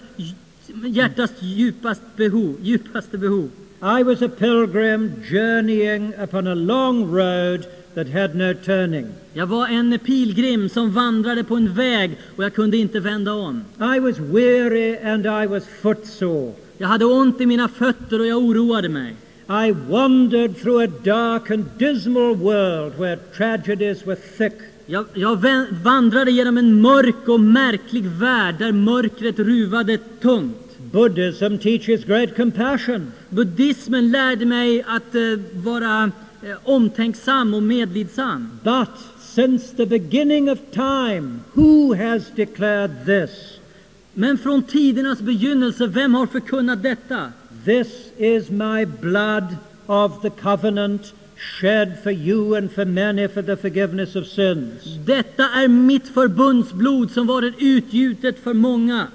Speaker 2: hjärtas djupast behov, djupaste behov.
Speaker 1: I was a pilgrim journeying upon a long road that had no turning.
Speaker 2: Jag var en pilgrim som vandrade på en väg och jag kunde inte vända om.
Speaker 1: I was weary and I was footsore.
Speaker 2: Jag hade ont i mina fötter och jag oroade mig.
Speaker 1: I wandered through a dark and dismal world where tragedies were thick.
Speaker 2: Jag, jag vä- vandrade genom en mörk och märklig värld där mörkret ruvade tungt.
Speaker 1: Buddhism teaches great compassion.
Speaker 2: Buddhismen lärde mig att eh, vara eh, omtänksam och medlidsam.
Speaker 1: But since the beginning of time, who has declared this?
Speaker 2: Men från tidernas begynnelse, vem har förkunnat detta?
Speaker 1: This is my blood of the covenant shed for you and for many for the forgiveness of sins.
Speaker 2: Detta är mitt förbundsblod som varit utgjutet för många.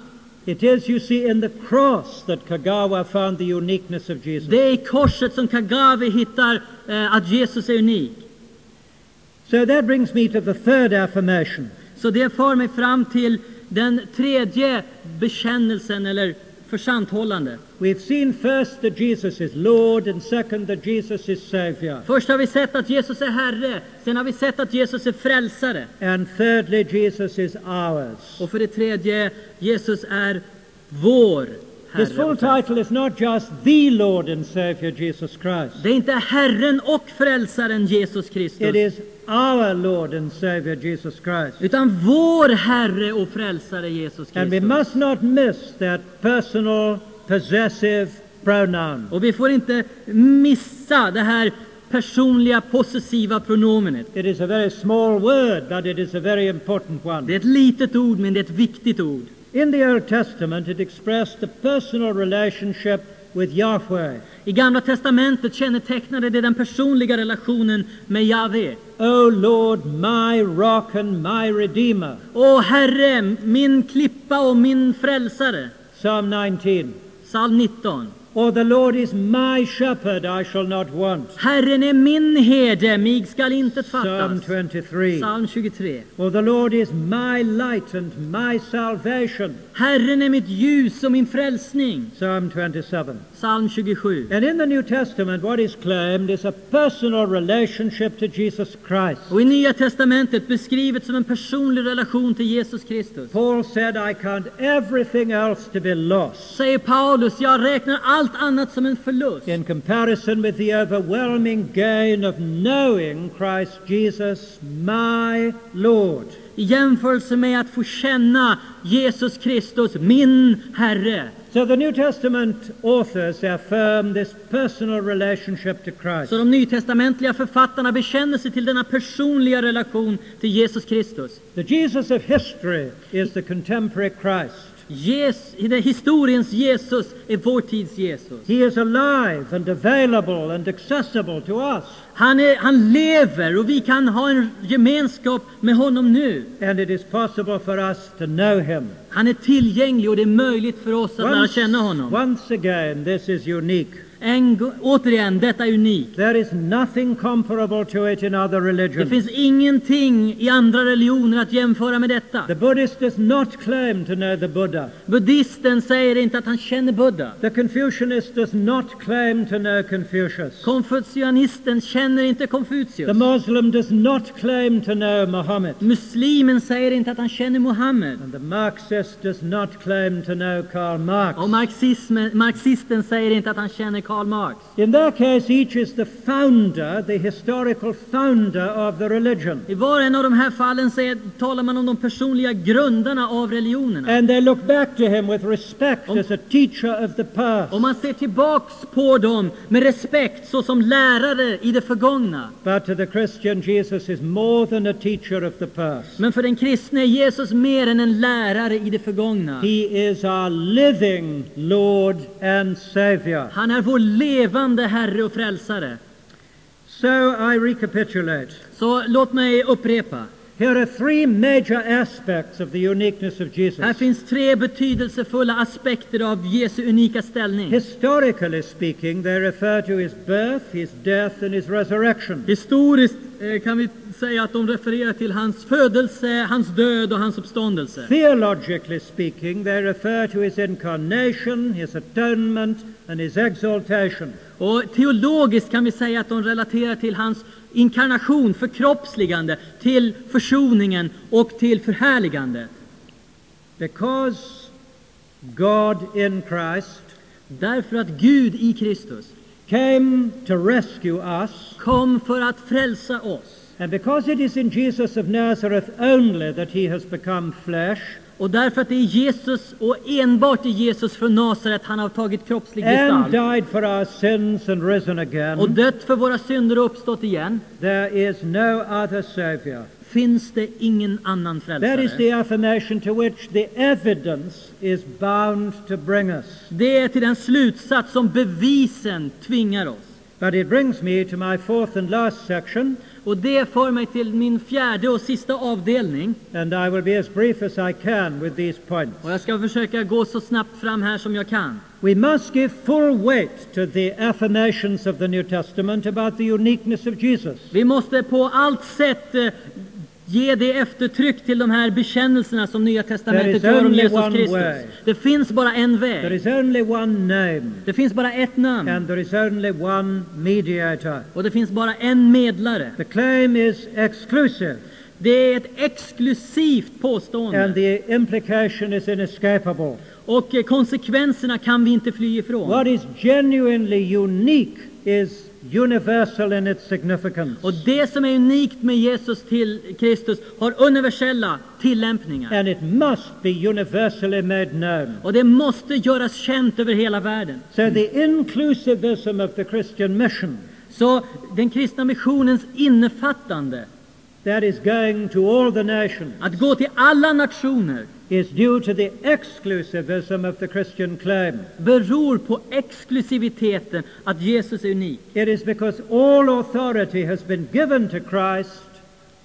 Speaker 1: It is, you see, in the cross that Kagawa found the uniqueness of Jesus.
Speaker 2: Det är i korset som Kagawa hittar eh, att Jesus är unik.
Speaker 1: So that brings me to the third affirmation.
Speaker 2: Så det för mig fram till den tredje bekännelsen eller försanthållandet.
Speaker 1: We've seen first that Jesus is Lord, and second that Jesus is Savior.
Speaker 2: Först har vi sett att Jesus är Herre, sen har vi sett att Jesus är frälsare.
Speaker 1: And thirdly, Jesus is ours.
Speaker 2: Och för det tredje, Jesus är vår
Speaker 1: His
Speaker 2: Herre.
Speaker 1: full
Speaker 2: och frälsare.
Speaker 1: title is not just the Lord and Savior Jesus Christ,
Speaker 2: Det är inte Herren och frälsaren Jesus
Speaker 1: it
Speaker 2: Kristus,
Speaker 1: is our Lord and Savior Jesus Christ.
Speaker 2: utan vår Herre och frälsare Jesus
Speaker 1: And we
Speaker 2: Kristus.
Speaker 1: must not miss that personal possessive pronoun.
Speaker 2: Och vi får inte missa det här personliga possessiva pronomenet.
Speaker 1: It is a very small word, but it is a very important one.
Speaker 2: Det är ett litet ord, men det är ett viktigt ord.
Speaker 1: In the Old Testament, it expressed the personal relationship with Yahweh.
Speaker 2: I Gamla Testamentet kännetecknade det den personliga relationen med Jahve.
Speaker 1: O Lord, my rock and my redeemer.
Speaker 2: Åh Herre, min klippa och min frälsare.
Speaker 1: Psalm 19.
Speaker 2: Psalm 19.
Speaker 1: Or the Lord is my shepherd, I shall not want.
Speaker 2: Herren är min herde, mig skall inte
Speaker 1: Psalm
Speaker 2: fattas.
Speaker 1: 23.
Speaker 2: Psalm 23.
Speaker 1: Or the Lord is my light and my salvation.
Speaker 2: Herren är mitt ljus och min frälsning.
Speaker 1: Psalm 27.
Speaker 2: Psalm 27.
Speaker 1: And in the New Testament, what is claimed is a personal relationship to Jesus Christ.
Speaker 2: Och i Nya Testamentet beskrivet som en personlig relation till Jesus Kristus.
Speaker 1: Paul said, I count everything else to be lost.
Speaker 2: Säger Paulus, jag räknar allt annat som en förlust.
Speaker 1: in comparison with the overwhelming gain of knowing Christ Jesus, my Lord.
Speaker 2: I jämförelse med att få känna Jesus Kristus, min Herre.
Speaker 1: So the New Testament authors affirm this personal relationship to Christ.
Speaker 2: Så de nytestamentliga författarna bekänner sig till denna personliga relation till Jesus Kristus.
Speaker 1: The Jesus of history is the contemporary Christ.
Speaker 2: Jes, det historiens Jesus är vår tids Jesus.
Speaker 1: He is alive and available and accessible to us,
Speaker 2: Han, är, han lever och vi kan ha en gemenskap med honom nu.
Speaker 1: and it is possible for us to know him.
Speaker 2: Han är tillgänglig och det är möjligt för oss att lära
Speaker 1: Once,
Speaker 2: känna honom.
Speaker 1: once again, this is unique.
Speaker 2: En, go- återigen, detta är unikt.
Speaker 1: There is nothing comparable to it in other
Speaker 2: Det
Speaker 1: religions.
Speaker 2: finns ingenting i andra religioner att jämföra med detta.
Speaker 1: The Buddhist does not claim to know the Buddha.
Speaker 2: Buddhisten säger inte att han känner Buddha.
Speaker 1: The Confucianist does not claim to know Confucius.
Speaker 2: Konfucianisten känner inte
Speaker 1: The
Speaker 2: Konfucius.
Speaker 1: Muslim does not claim to know Muhammad.
Speaker 2: Muslimen säger inte att han känner Mohammed.
Speaker 1: And the Marxist does not claim to know Karl Marx.
Speaker 2: Oh, Och marxismen, marxisten säger inte att han känner Karl Marx.
Speaker 1: In their case, each is the founder, the historical founder of the religion.
Speaker 2: I var och en av de här fallen säger, talar man om de personliga grundarna av religionerna.
Speaker 1: And they look back to him with respect
Speaker 2: Om-
Speaker 1: as a teacher of the past.
Speaker 2: Och man ser tillbaks på dem med respekt såsom lärare i det förgångna.
Speaker 1: But to the Christian, Jesus is more than a teacher of the past.
Speaker 2: Men för den kristne är Jesus mer än en lärare i det förgångna.
Speaker 1: He is our living Lord and Savior.
Speaker 2: Han är vår levande Herre och Frälsare.
Speaker 1: So I recapitulate.
Speaker 2: Så låt mig upprepa.
Speaker 1: Here are three major aspects of the uniqueness of
Speaker 2: Här
Speaker 1: Jesus.
Speaker 2: finns tre betydelsefulla aspekter av Jesu unika ställning.
Speaker 1: Historically speaking, they refer to his birth, his death, and his resurrection.
Speaker 2: Historiskt eh, kan vi säga att de refererar till hans födelse, hans död och hans uppståndelse.
Speaker 1: Theologically speaking, they refer to his incarnation, his atonement, and his exaltation.
Speaker 2: Och teologiskt kan vi säga att de relaterar till hans inkarnation, förkroppsligande, till försoningen och till förhärligandet.
Speaker 1: Because God in Christ
Speaker 2: Därför att Gud i Kristus
Speaker 1: came to rescue us,
Speaker 2: kom för att frälsa oss.
Speaker 1: and because it is in Jesus of Nazareth only that he has become flesh,
Speaker 2: Och därför att det är Jesus och enbart i Jesus från Nasaret han har tagit kroppslig
Speaker 1: and
Speaker 2: gestalt
Speaker 1: died for our sins and risen
Speaker 2: och
Speaker 1: again,
Speaker 2: dött för våra synder och uppstått igen,
Speaker 1: there is no other Savior.
Speaker 2: finns det ingen annan
Speaker 1: That is
Speaker 2: frälsare.
Speaker 1: the affirmation to which the evidence is bound to bring us.
Speaker 2: Det är till den slutsats som bevisen tvingar oss.
Speaker 1: But it brings me to my fourth and last section,
Speaker 2: Och det för mig till min fjärde och sista avdelning.
Speaker 1: and I will be as brief as I can with these points.
Speaker 2: Och jag ska försöka gå så snabbt fram här som jag kan.
Speaker 1: We must give full weight to the affirmations of the New Testament about the uniqueness of Jesus.
Speaker 2: Vi måste på allt sätt eh, ge det eftertryck till de här bekännelserna som Nya
Speaker 1: There
Speaker 2: Testamentet
Speaker 1: is
Speaker 2: gör om
Speaker 1: only
Speaker 2: Jesus
Speaker 1: one way.
Speaker 2: Kristus. Det finns bara en
Speaker 1: There
Speaker 2: väg.
Speaker 1: is only one name,
Speaker 2: Det finns bara ett namn.
Speaker 1: and there is only one mediator.
Speaker 2: Och det finns bara en medlare.
Speaker 1: The claim is exclusive,
Speaker 2: Det är ett exklusivt
Speaker 1: and
Speaker 2: påstående.
Speaker 1: the implication is inescapable.
Speaker 2: Och eh, konsekvenserna kan vi inte fly ifrån.
Speaker 1: What is genuinely unique is universal in its significance.
Speaker 2: Och det som är unikt med Jesus till Kristus har universella tillämpningar.
Speaker 1: And it must be universally made known.
Speaker 2: Och det måste göras känt över hela världen.
Speaker 1: So the inclusivism of the Christian mission
Speaker 2: Så den kristna missionens innefattande,
Speaker 1: that is going to all the nations
Speaker 2: att gå till alla nationer,
Speaker 1: is due to the exclusivism of the Christian claim.
Speaker 2: beror på exklusiviteten att Jesus är unik.
Speaker 1: It is because all authority has been given to Christ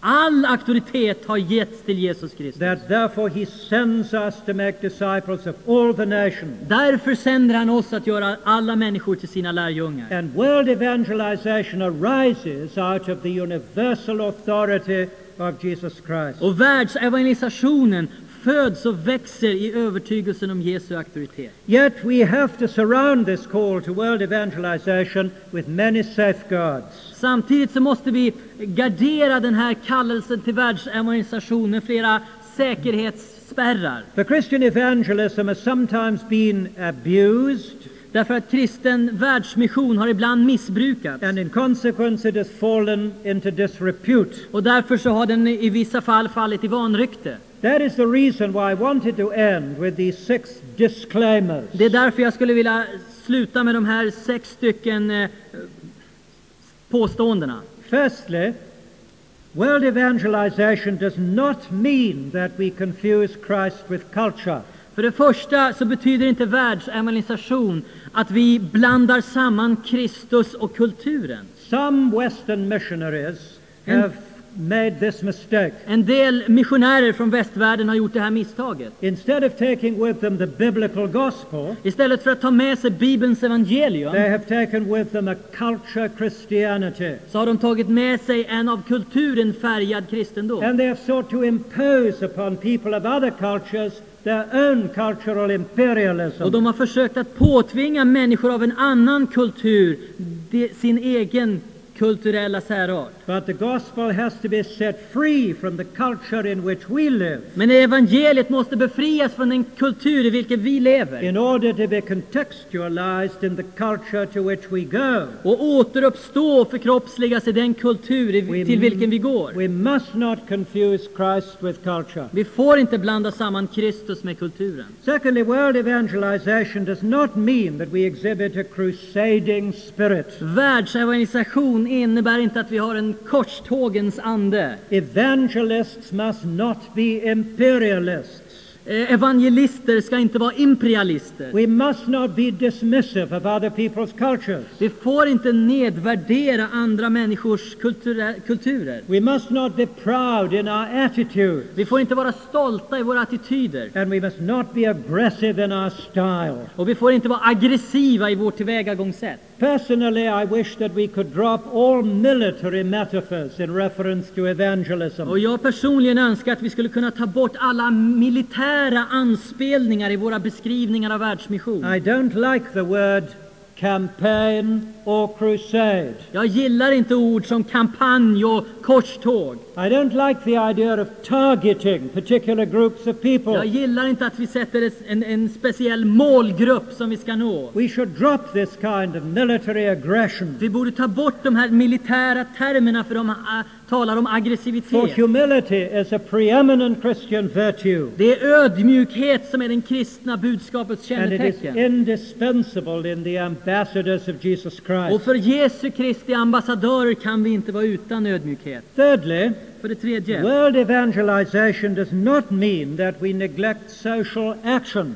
Speaker 2: All auktoritet har getts till Jesus Kristus.
Speaker 1: that therefore he sends us to make disciples of all the nations.
Speaker 2: Därför sänder han oss att göra alla människor till sina lärjungar.
Speaker 1: And world evangelization arises out of the universal authority of Jesus Christ.
Speaker 2: Och världsevangelisationen föds och växer i övertygelsen om Jesu auktoritet.
Speaker 1: Yet we have to surround this call to world evangelization with many safeguards.
Speaker 2: Samtidigt så måste vi gardera den här kallelsen till världsevangelisation med flera säkerhetsspärrar.
Speaker 1: The Christian evangelism has sometimes been abused,
Speaker 2: Därför att kristen världsmission har ibland missbrukats.
Speaker 1: and in consequence, it has fallen into disrepute.
Speaker 2: Och därför så har den i vissa fall fallit i vanrykte.
Speaker 1: That is the reason why I wanted to end with these six disclaimers.
Speaker 2: Det är därför jag skulle vilja sluta med de här sex stycken eh, påståendena.
Speaker 1: Firstly, world evangelization does not mean that we confuse Christ with culture.
Speaker 2: För det första så betyder inte världsevangelisation att vi blandar samman Kristus och kulturen.
Speaker 1: Some Western missionaries have made this mistake.
Speaker 2: En del missionärer från västvärlden har gjort det här misstaget.
Speaker 1: Instead of taking with them the biblical gospel,
Speaker 2: Istället för att ta med sig Bibelns evangelium
Speaker 1: they have taken with them a culture Christianity.
Speaker 2: så har de tagit med sig en av kulturen färgad kristendom.
Speaker 1: And they have sought to impose upon people of other cultures their own cultural
Speaker 2: Och
Speaker 1: imperialism.
Speaker 2: de har försökt att påtvinga människor av en annan kultur de, sin egen kulturella särart.
Speaker 1: But the gospel has to be set free from the culture in which we live
Speaker 2: Men evangeliet måste befrias från den kultur i vilken vi lever
Speaker 1: in order to be contextualized in the culture to which we go.
Speaker 2: och återuppstå och förkroppsligas i den kultur i- till vilken vi går.
Speaker 1: we must not confuse Christ with culture.
Speaker 2: Vi får inte blanda samman Kristus med kulturen.
Speaker 1: Secondly, world evangelization does not mean that we exhibit a crusading spirit.
Speaker 2: Världsevangelisation innebär inte att vi har en korstågens ande.
Speaker 1: Evangelists must not be imperialists.
Speaker 2: Eh, Evangelister ska inte vara imperialister.
Speaker 1: We must not be dismissive of other people's cultures.
Speaker 2: Vi får inte nedvärdera andra människors kultura- kulturer.
Speaker 1: We must not be proud in our attitude.
Speaker 2: Vi får inte vara stolta i våra attityder.
Speaker 1: And we must not be aggressive in our style.
Speaker 2: Och vi får inte vara aggressiva i vårt tillvägagångssätt.
Speaker 1: Personally, I wish that we could drop all military metaphors in reference to
Speaker 2: Och
Speaker 1: evangelism.
Speaker 2: jag personligen önskar att vi skulle kunna ta bort alla militära anspelningar i våra beskrivningar av världsmission.
Speaker 1: I don't like the word campaign or crusade.
Speaker 2: Jag gillar inte ord som kampanj och korståg.
Speaker 1: I don't like the idea of targeting particular groups of
Speaker 2: Jag
Speaker 1: people.
Speaker 2: gillar inte att vi sätter ett- en, en speciell målgrupp som vi ska nå.
Speaker 1: We should drop this kind of military aggression.
Speaker 2: Vi borde ta bort de här militära termerna för de äh, talar om
Speaker 1: For
Speaker 2: aggressivitet.
Speaker 1: humility is a preeminent Christian virtue,
Speaker 2: Det är ödmjukhet som är den kristna budskapets
Speaker 1: and it is
Speaker 2: kännetecken.
Speaker 1: indispensable in the ambassadors of Jesus
Speaker 2: Och
Speaker 1: Christ.
Speaker 2: för Jesu Kristi ambassadörer kan vi inte vara utan ödmjukhet.
Speaker 1: Thirdly,
Speaker 2: För det tredje,
Speaker 1: world evangelization does not mean that we neglect social action.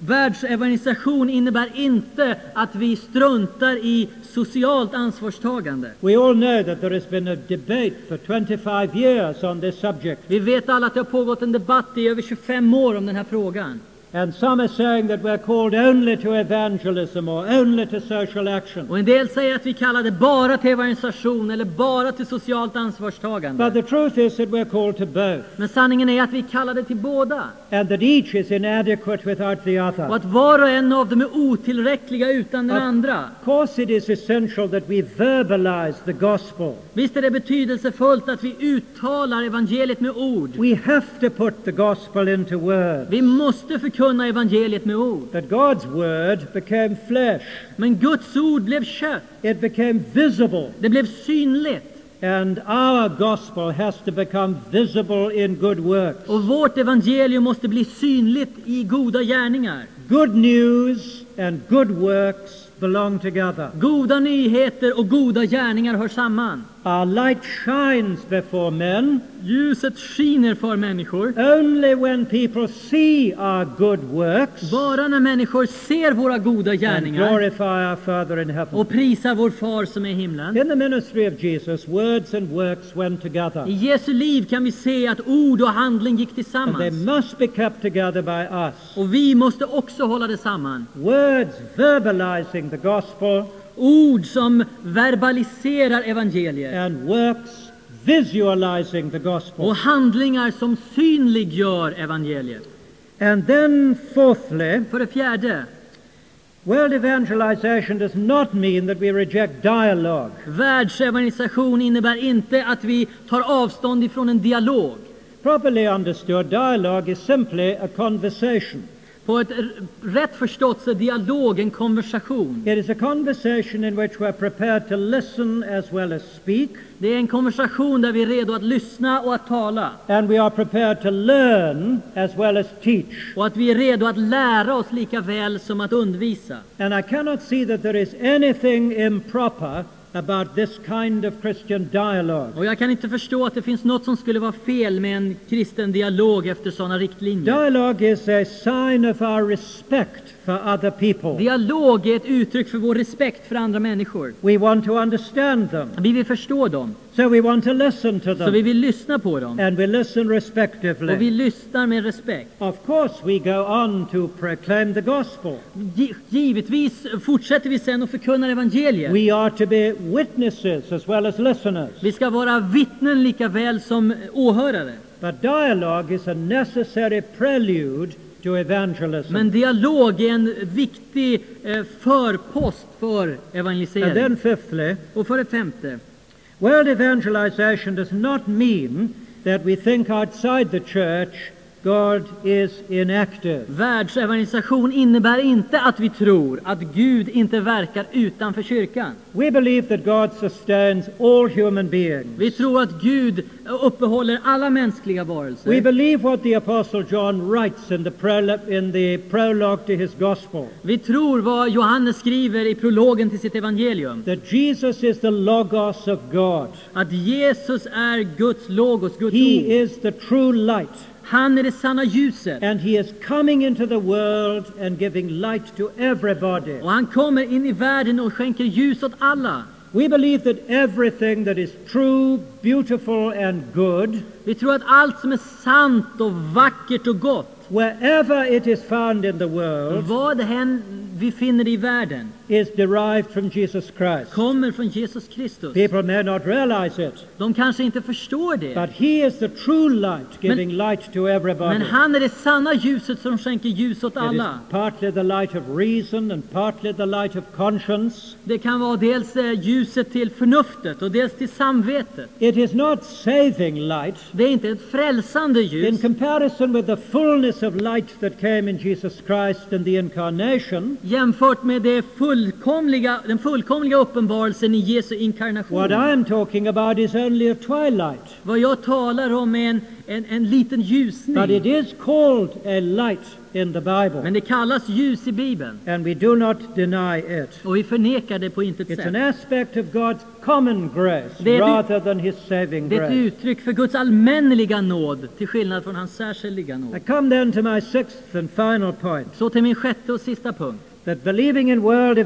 Speaker 2: världsevangelisation innebär inte att vi struntar i socialt ansvarstagande.
Speaker 1: We all know that there has been a debate for 25 years on this subject,
Speaker 2: Vi vet alla att det har pågått en debatt i över 25 år om den här frågan.
Speaker 1: and some are saying that we're called only to evangelism or only to social action.
Speaker 2: Och en del säger att vi kallar det bara till evangelisation eller bara till socialt
Speaker 1: But
Speaker 2: ansvarstagande.
Speaker 1: the truth is that we're called to both,
Speaker 2: Men sanningen är att vi kallar det till båda.
Speaker 1: and that each is inadequate without the
Speaker 2: Och
Speaker 1: other.
Speaker 2: att var och en av dem är otillräckliga utan den
Speaker 1: Att-
Speaker 2: andra.
Speaker 1: Of course, it is essential that we verbalize the gospel.
Speaker 2: Visst är det betydelsefullt att vi uttalar evangeliet med ord.
Speaker 1: We have to put the gospel into words.
Speaker 2: Vi måste förkunna evangeliet med ord.
Speaker 1: That God's word became flesh,
Speaker 2: Men Guds ord blev kött.
Speaker 1: it became visible,
Speaker 2: Det blev synligt.
Speaker 1: and our gospel has to become visible in good works.
Speaker 2: Och vårt evangelium måste bli synligt i goda gärningar.
Speaker 1: Good news and good works belong together.
Speaker 2: Goda nyheter och goda gärningar hör samman.
Speaker 1: Our light shines before men
Speaker 2: Ljuset skiner för människor.
Speaker 1: only when people see our good works
Speaker 2: Bara när människor ser våra goda
Speaker 1: and
Speaker 2: gärningar
Speaker 1: glorify our Father in heaven.
Speaker 2: och prisar vår far som är i himlen.
Speaker 1: In the ministry of Jesus, words and works went together.
Speaker 2: I Jesu liv kan vi se att ord och handling gick
Speaker 1: And they
Speaker 2: tillsammans.
Speaker 1: must be kept together by us.
Speaker 2: Och vi måste också hålla det samman.
Speaker 1: Words verbalizing the gospel
Speaker 2: Ord som verbaliserar evangeliet.
Speaker 1: and works visualizing the
Speaker 2: och
Speaker 1: gospel.
Speaker 2: handlingar som synliggör evangeliet.
Speaker 1: And then, fourthly,
Speaker 2: För det fjärde,
Speaker 1: World evangelization does not mean that we reject dialogue.
Speaker 2: världsevangelisation innebär inte att vi tar avstånd ifrån en dialog.
Speaker 1: Properly understood, dialogue is simply a conversation.
Speaker 2: På ett r- rätt förstått så är dialog en konversation.
Speaker 1: It is a conversation in which we're prepared to listen as well as speak,
Speaker 2: Det är en konversation där vi är redo att lyssna och att tala.
Speaker 1: and we are prepared to learn as well as teach.
Speaker 2: Och att vi är redo att lära oss lika väl som att undervisa.
Speaker 1: And I cannot see that there is anything improper about this kind of Christian dialogue.
Speaker 2: Och jag kan inte förstå att det finns något som skulle vara fel med en kristen dialog efter sådana riktlinjer.
Speaker 1: Dialogue is a sign of our respect for other people.
Speaker 2: Dialog är ett uttryck för vår respekt för andra människor.
Speaker 1: We want to understand them,
Speaker 2: Vi vill förstå dem.
Speaker 1: so we want to listen to
Speaker 2: Så vi
Speaker 1: them,
Speaker 2: vill lyssna på dem.
Speaker 1: and we listen
Speaker 2: Och vi
Speaker 1: respectively.
Speaker 2: lyssnar med respekt.
Speaker 1: Of course, we go on to proclaim the gospel.
Speaker 2: Gi- Givetvis fortsätter vi sen och förkunnar evangeliet.
Speaker 1: We are to be witnesses as well as listeners.
Speaker 2: Vi ska vara vittnen lika väl som åhörare.
Speaker 1: But dialogue is a necessary prelude to evangelism.
Speaker 2: Men dialog är en viktig eh, förpost för
Speaker 1: and then,
Speaker 2: evangelisering.
Speaker 1: fifthly,
Speaker 2: Och för det femte,
Speaker 1: World evangelization does not mean that we think outside the church God is inactive.
Speaker 2: Världsevangelisation innebär inte att vi tror att Gud inte verkar utanför kyrkan.
Speaker 1: We believe that God sustains all human beings.
Speaker 2: Vi tror att Gud eh, uppehåller alla mänskliga
Speaker 1: We
Speaker 2: varelser.
Speaker 1: believe what the Apostle John writes in the, prolo- in the prologue to his Gospel
Speaker 2: Vi tror vad Johannes skriver i prologen till sitt evangelium.
Speaker 1: that Jesus is the Logos of God,
Speaker 2: Att Jesus är Guds logos, Guds
Speaker 1: He
Speaker 2: ord.
Speaker 1: is the true light.
Speaker 2: Han är det sanna ljuset.
Speaker 1: And he is coming into the world and giving light to everybody.
Speaker 2: Och han kommer in i världen och skänker ljus åt alla.
Speaker 1: We believe that everything that is true, beautiful, and good,
Speaker 2: Vi tror att allt som är sant och vackert och gott,
Speaker 1: wherever it is found in the world,
Speaker 2: vad hän vi finner i världen,
Speaker 1: is derived from Jesus Christ.
Speaker 2: kommer från Jesus Kristus.
Speaker 1: People may not realize it,
Speaker 2: De kanske inte förstår det.
Speaker 1: but he is the true light, giving light to
Speaker 2: Men
Speaker 1: everybody.
Speaker 2: han är det sanna ljuset som skänker ljus åt
Speaker 1: It is
Speaker 2: alla.
Speaker 1: partly the light of reason and partly the light of conscience.
Speaker 2: Det kan vara dels eh, ljuset till förnuftet och dels till samvetet.
Speaker 1: It is not saving light.
Speaker 2: Det är inte ett frälsande
Speaker 1: In
Speaker 2: ljus.
Speaker 1: comparison with the fullness of light that came in Jesus Christ in the incarnation,
Speaker 2: Jämfört med det fullkomliga, den fullkomliga uppenbarelsen i Jesu
Speaker 1: what
Speaker 2: inkarnation.
Speaker 1: I am talking about is only a twilight.
Speaker 2: Vad jag talar om är en, en, en liten
Speaker 1: But it
Speaker 2: ljusning.
Speaker 1: is called a light in the Bible,
Speaker 2: Hmm. Men det kallas ljus i Bibeln.
Speaker 1: and we do not deny it.
Speaker 2: Och vi förnekar det på intet
Speaker 1: It's an
Speaker 2: sätt.
Speaker 1: aspect of God's common grace
Speaker 2: Det är ett-
Speaker 1: rather than His saving
Speaker 2: Det är ett
Speaker 1: grace.
Speaker 2: uttryck för Guds allmänneliga nåd till skillnad från hans särskilda
Speaker 1: I
Speaker 2: nåd.
Speaker 1: come then to my sixth and final point
Speaker 2: Så till min sjätte och sista punkt.
Speaker 1: that believing in world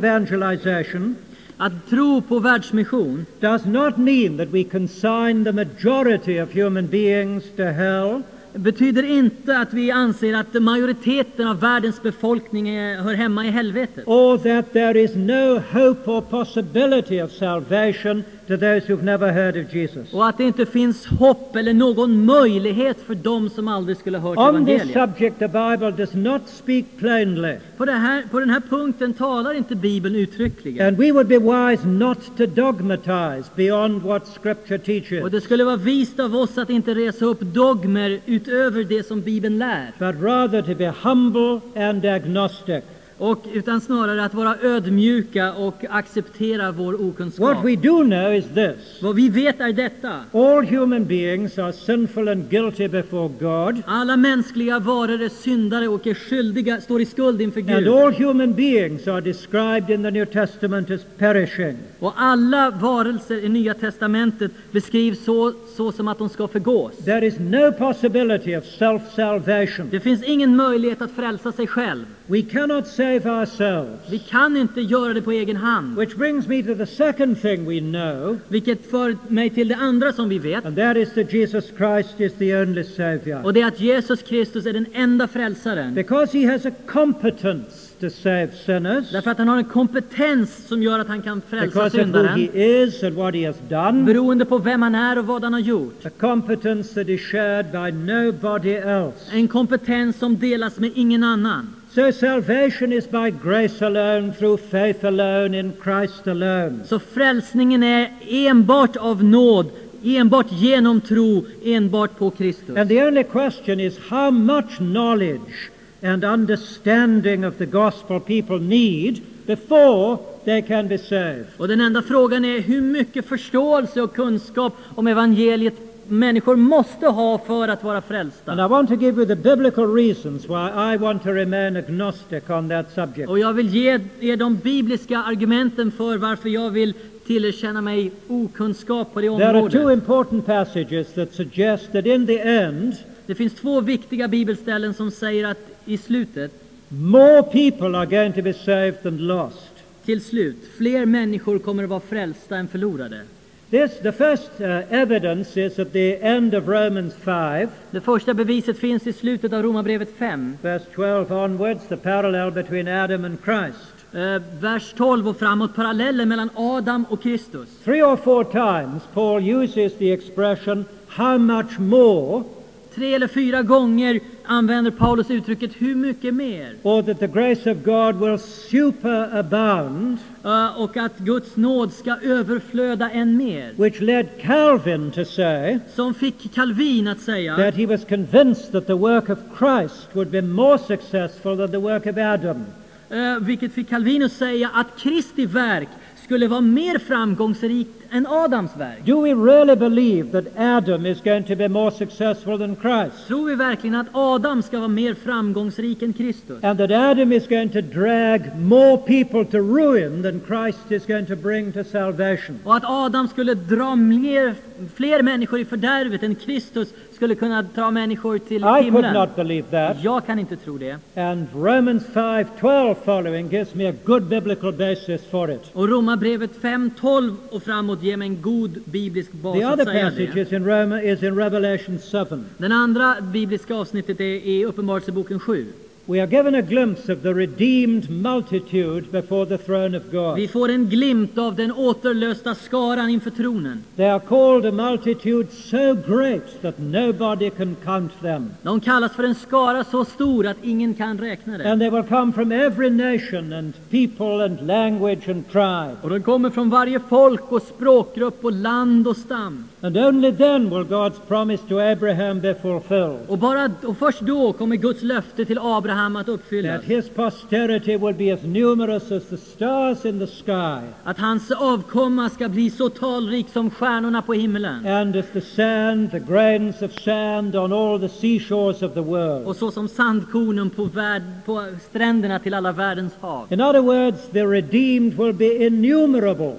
Speaker 1: evangelization
Speaker 2: Att tro på världsmission
Speaker 1: does not mean that we consign the majority of human beings to hell
Speaker 2: betyder inte att vi anser att majoriteten av världens befolkning är, hör hemma i helvetet.
Speaker 1: or that there is no hope or possibility of salvation to those who've never heard of Jesus.
Speaker 2: Och att det inte finns hopp eller någon möjlighet för dem som aldrig skulle ha hört
Speaker 1: On this
Speaker 2: evangeliet.
Speaker 1: subject, the Bible does not speak plainly.
Speaker 2: På, det här, på den här punkten talar inte Bibeln uttryckligen.
Speaker 1: And we would be wise not to dogmatize beyond what Scripture
Speaker 2: Och
Speaker 1: teaches,
Speaker 2: det skulle vara vist av oss att inte resa upp dogmer utöver det som Bibeln lär.
Speaker 1: but rather to be humble and agnostic.
Speaker 2: Och, utan snarare att vara ödmjuka och acceptera vår
Speaker 1: What
Speaker 2: okunskap.
Speaker 1: we do know is this
Speaker 2: Vad vi vet är detta.
Speaker 1: all human beings are sinful and guilty before God,
Speaker 2: Alla mänskliga varor är syndare och är skyldiga, står i skuld inför
Speaker 1: and
Speaker 2: Gud.
Speaker 1: all human beings are described in the New Testament as perishing.
Speaker 2: Och alla varelser i Nya Testamentet beskrivs så, så som att de ska förgås.
Speaker 1: There is no possibility of self salvation.
Speaker 2: Det finns ingen möjlighet att frälsa sig själv.
Speaker 1: We cannot save ourselves.
Speaker 2: Vi kan inte göra det på egen hand.
Speaker 1: Which brings me to the second thing we know,
Speaker 2: Vilket för mig till det andra som vi vet.
Speaker 1: and that is that Jesus Christ is the only Savior.
Speaker 2: Och det är att Jesus Kristus är den enda frälsaren.
Speaker 1: Because he has a competence to save sinners,
Speaker 2: Därför att han har en kompetens som gör att han kan frälsa
Speaker 1: because of who he
Speaker 2: syndaren.
Speaker 1: is and what he has done,
Speaker 2: Beroende på vem han är och vad han har gjort.
Speaker 1: a competence that is shared by nobody else.
Speaker 2: En kompetens som delas med ingen annan.
Speaker 1: So salvation is by grace alone, through faith alone, in Christ alone.
Speaker 2: Så frälsningen är enbart av nåd, enbart genom tro, enbart på Kristus.
Speaker 1: And the only question is how much knowledge and understanding of the gospel people need before they can be saved.
Speaker 2: Och den enda frågan är hur mycket förståelse och kunskap om evangeliet människor måste ha för att vara
Speaker 1: And
Speaker 2: frälsta.
Speaker 1: I want to give you the biblical reasons why I want to remain agnostic on that subject.
Speaker 2: Och jag vill ge er de bibliska argumenten för varför jag vill tillerkänna mig okunskap på det
Speaker 1: There are two
Speaker 2: området.
Speaker 1: important passages that suggest that in the end,
Speaker 2: Det finns två viktiga bibelställen som säger att i slutet,
Speaker 1: more people are going to be saved than lost.
Speaker 2: till slut, fler människor kommer att vara frälsta än förlorade.
Speaker 1: This, the first uh, evidence is at the end of Romans 5,
Speaker 2: Det första beviset finns i slutet av Romarbrevet 5,
Speaker 1: verse 12 onwards, the parallel between Adam and Christ.
Speaker 2: eh, vers 12 och framåt, parallellen mellan Adam och Kristus.
Speaker 1: Three or four times, Paul uses the expression, how much more
Speaker 2: Tre eller fyra gånger använder Paulus uttrycket hur mycket mer?
Speaker 1: or that the grace of God will superabound,
Speaker 2: Eh, och att Guds nåd ska överflöda än mer.
Speaker 1: which led Calvin to say
Speaker 2: Som fick Calvin att säga
Speaker 1: that he was convinced that the work of Christ would be more successful than the work of Adam.
Speaker 2: Eh, vilket fick Calvinus säga att Kristi verk skulle vara mer framgångsrikt än Adams verk.
Speaker 1: Do we really believe that Adam is going to be more successful than Christ?
Speaker 2: Tror vi verkligen att Adam ska vara mer framgångsrik än Kristus?
Speaker 1: And that Adam is going to drag more people to ruin than Christ is going to bring to salvation?
Speaker 2: Och att Adam skulle dra mer, fler människor i fördärvet än Kristus skulle kunna dra människor till
Speaker 1: I could
Speaker 2: himlen?
Speaker 1: not believe that.
Speaker 2: Jag kan inte tro det.
Speaker 1: And Romans 5:12 following gives me a good biblical basis for it.
Speaker 2: Och Romarbrevet 5.12 och framåt ger mig en god biblisk bas
Speaker 1: The
Speaker 2: att
Speaker 1: other
Speaker 2: säga
Speaker 1: passage
Speaker 2: det.
Speaker 1: is in Roma is in Revelation 7.
Speaker 2: Den andra bibliska avsnittet är i Uppenbarelseboken 7.
Speaker 1: We are given a glimpse of the redeemed multitude before the throne of God.
Speaker 2: Vi får en glimt av den återlösta skaran inför tronen.
Speaker 1: They are called a multitude so great that nobody can count them.
Speaker 2: De kallas för en skara så stor att ingen kan räkna det.
Speaker 1: And they will come from every nation and people and language and tribe.
Speaker 2: Och de kommer från varje folk och språkgrupp och land och stam.
Speaker 1: And only then will God's promise to Abraham be fulfilled.
Speaker 2: Och, bara, och först då kommer Guds löfte till Abraham att uppfyllas.
Speaker 1: That his posterity will be as numerous as the stars in the sky
Speaker 2: Att hans avkomma ska bli så talrik som stjärnorna på himlen.
Speaker 1: and as the sand, the grains of sand on all the seashores of the world.
Speaker 2: Och så som sandkornen på, värld, på stränderna till alla världens hav.
Speaker 1: In other words, the redeemed will be innumerable.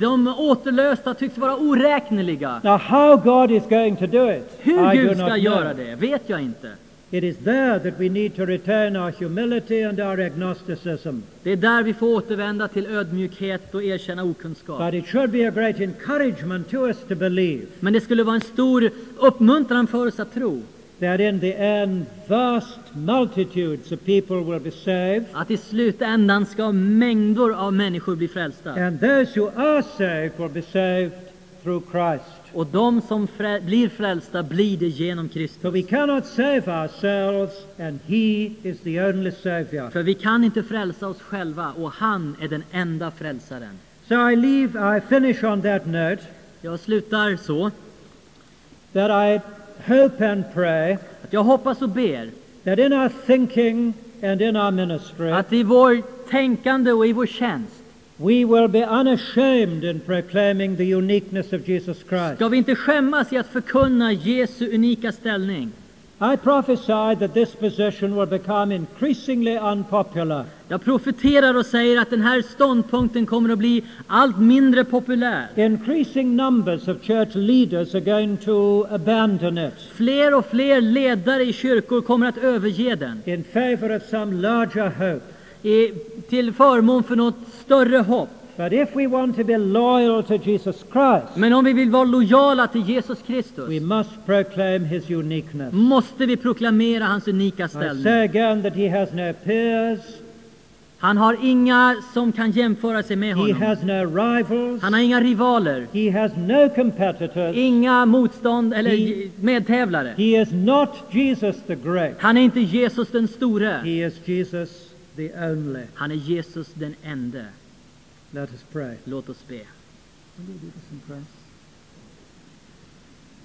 Speaker 2: De återlösta tycks vara oräkneliga.
Speaker 1: Now, how God is going to do it,
Speaker 2: Hur
Speaker 1: I do
Speaker 2: Gud ska
Speaker 1: not know.
Speaker 2: göra det vet jag inte.
Speaker 1: It is there that we need to return our humility and our agnosticism.
Speaker 2: Det är där vi får återvända till ödmjukhet och erkänna okunskap.
Speaker 1: But it should be a great encouragement to us to believe
Speaker 2: Men det skulle vara en stor uppmuntran för oss att tro
Speaker 1: that in the end, vast multitudes of people will be saved,
Speaker 2: att i slutändan ska mängder av människor bli frälsta.
Speaker 1: and those who are saved will be saved through Christ.
Speaker 2: Och de som frä- blir frälsta blir det genom Kristus.
Speaker 1: So we cannot save ourselves, and He is the only Savior.
Speaker 2: För vi kan inte frälsa oss själva och han är den enda frälsaren.
Speaker 1: So I leave, I finish on that note.
Speaker 2: Jag slutar så.
Speaker 1: that I hope and pray
Speaker 2: Att jag hoppas och ber
Speaker 1: that in our thinking and in our ministry,
Speaker 2: att i vår tänkande och i vår tjänst
Speaker 1: we will be unashamed in proclaiming the uniqueness of Jesus Christ.
Speaker 2: ska vi inte skämmas i att förkunna Jesu unika ställning.
Speaker 1: I prophesy that this position will become increasingly unpopular.
Speaker 2: Jag profeterar och säger att den här ståndpunkten kommer att bli allt mindre populär.
Speaker 1: Increasing numbers of church leaders are going to abandon it
Speaker 2: Fler och fler ledare i kyrkor kommer att överge den
Speaker 1: in favor of some larger hope.
Speaker 2: i, till förmån för något större hopp.
Speaker 1: But if we want to be loyal to Jesus Christ,
Speaker 2: Men om vi vill vara lojala till Jesus Kristus
Speaker 1: we must proclaim his uniqueness.
Speaker 2: måste vi proklamera hans unika
Speaker 1: I
Speaker 2: ställning.
Speaker 1: say again that he has no peers,
Speaker 2: Han har inga som kan jämföra sig med
Speaker 1: He
Speaker 2: honom.
Speaker 1: has no rivals.
Speaker 2: Han har inga rivaler,
Speaker 1: He has no competitors.
Speaker 2: inga motstånd eller
Speaker 1: He-
Speaker 2: medtävlare.
Speaker 1: He is not Jesus the Great.
Speaker 2: Han är inte Jesus den store.
Speaker 1: He is Jesus the only.
Speaker 2: Han är Jesus den ende.
Speaker 1: Let us pray.
Speaker 2: Låt oss be.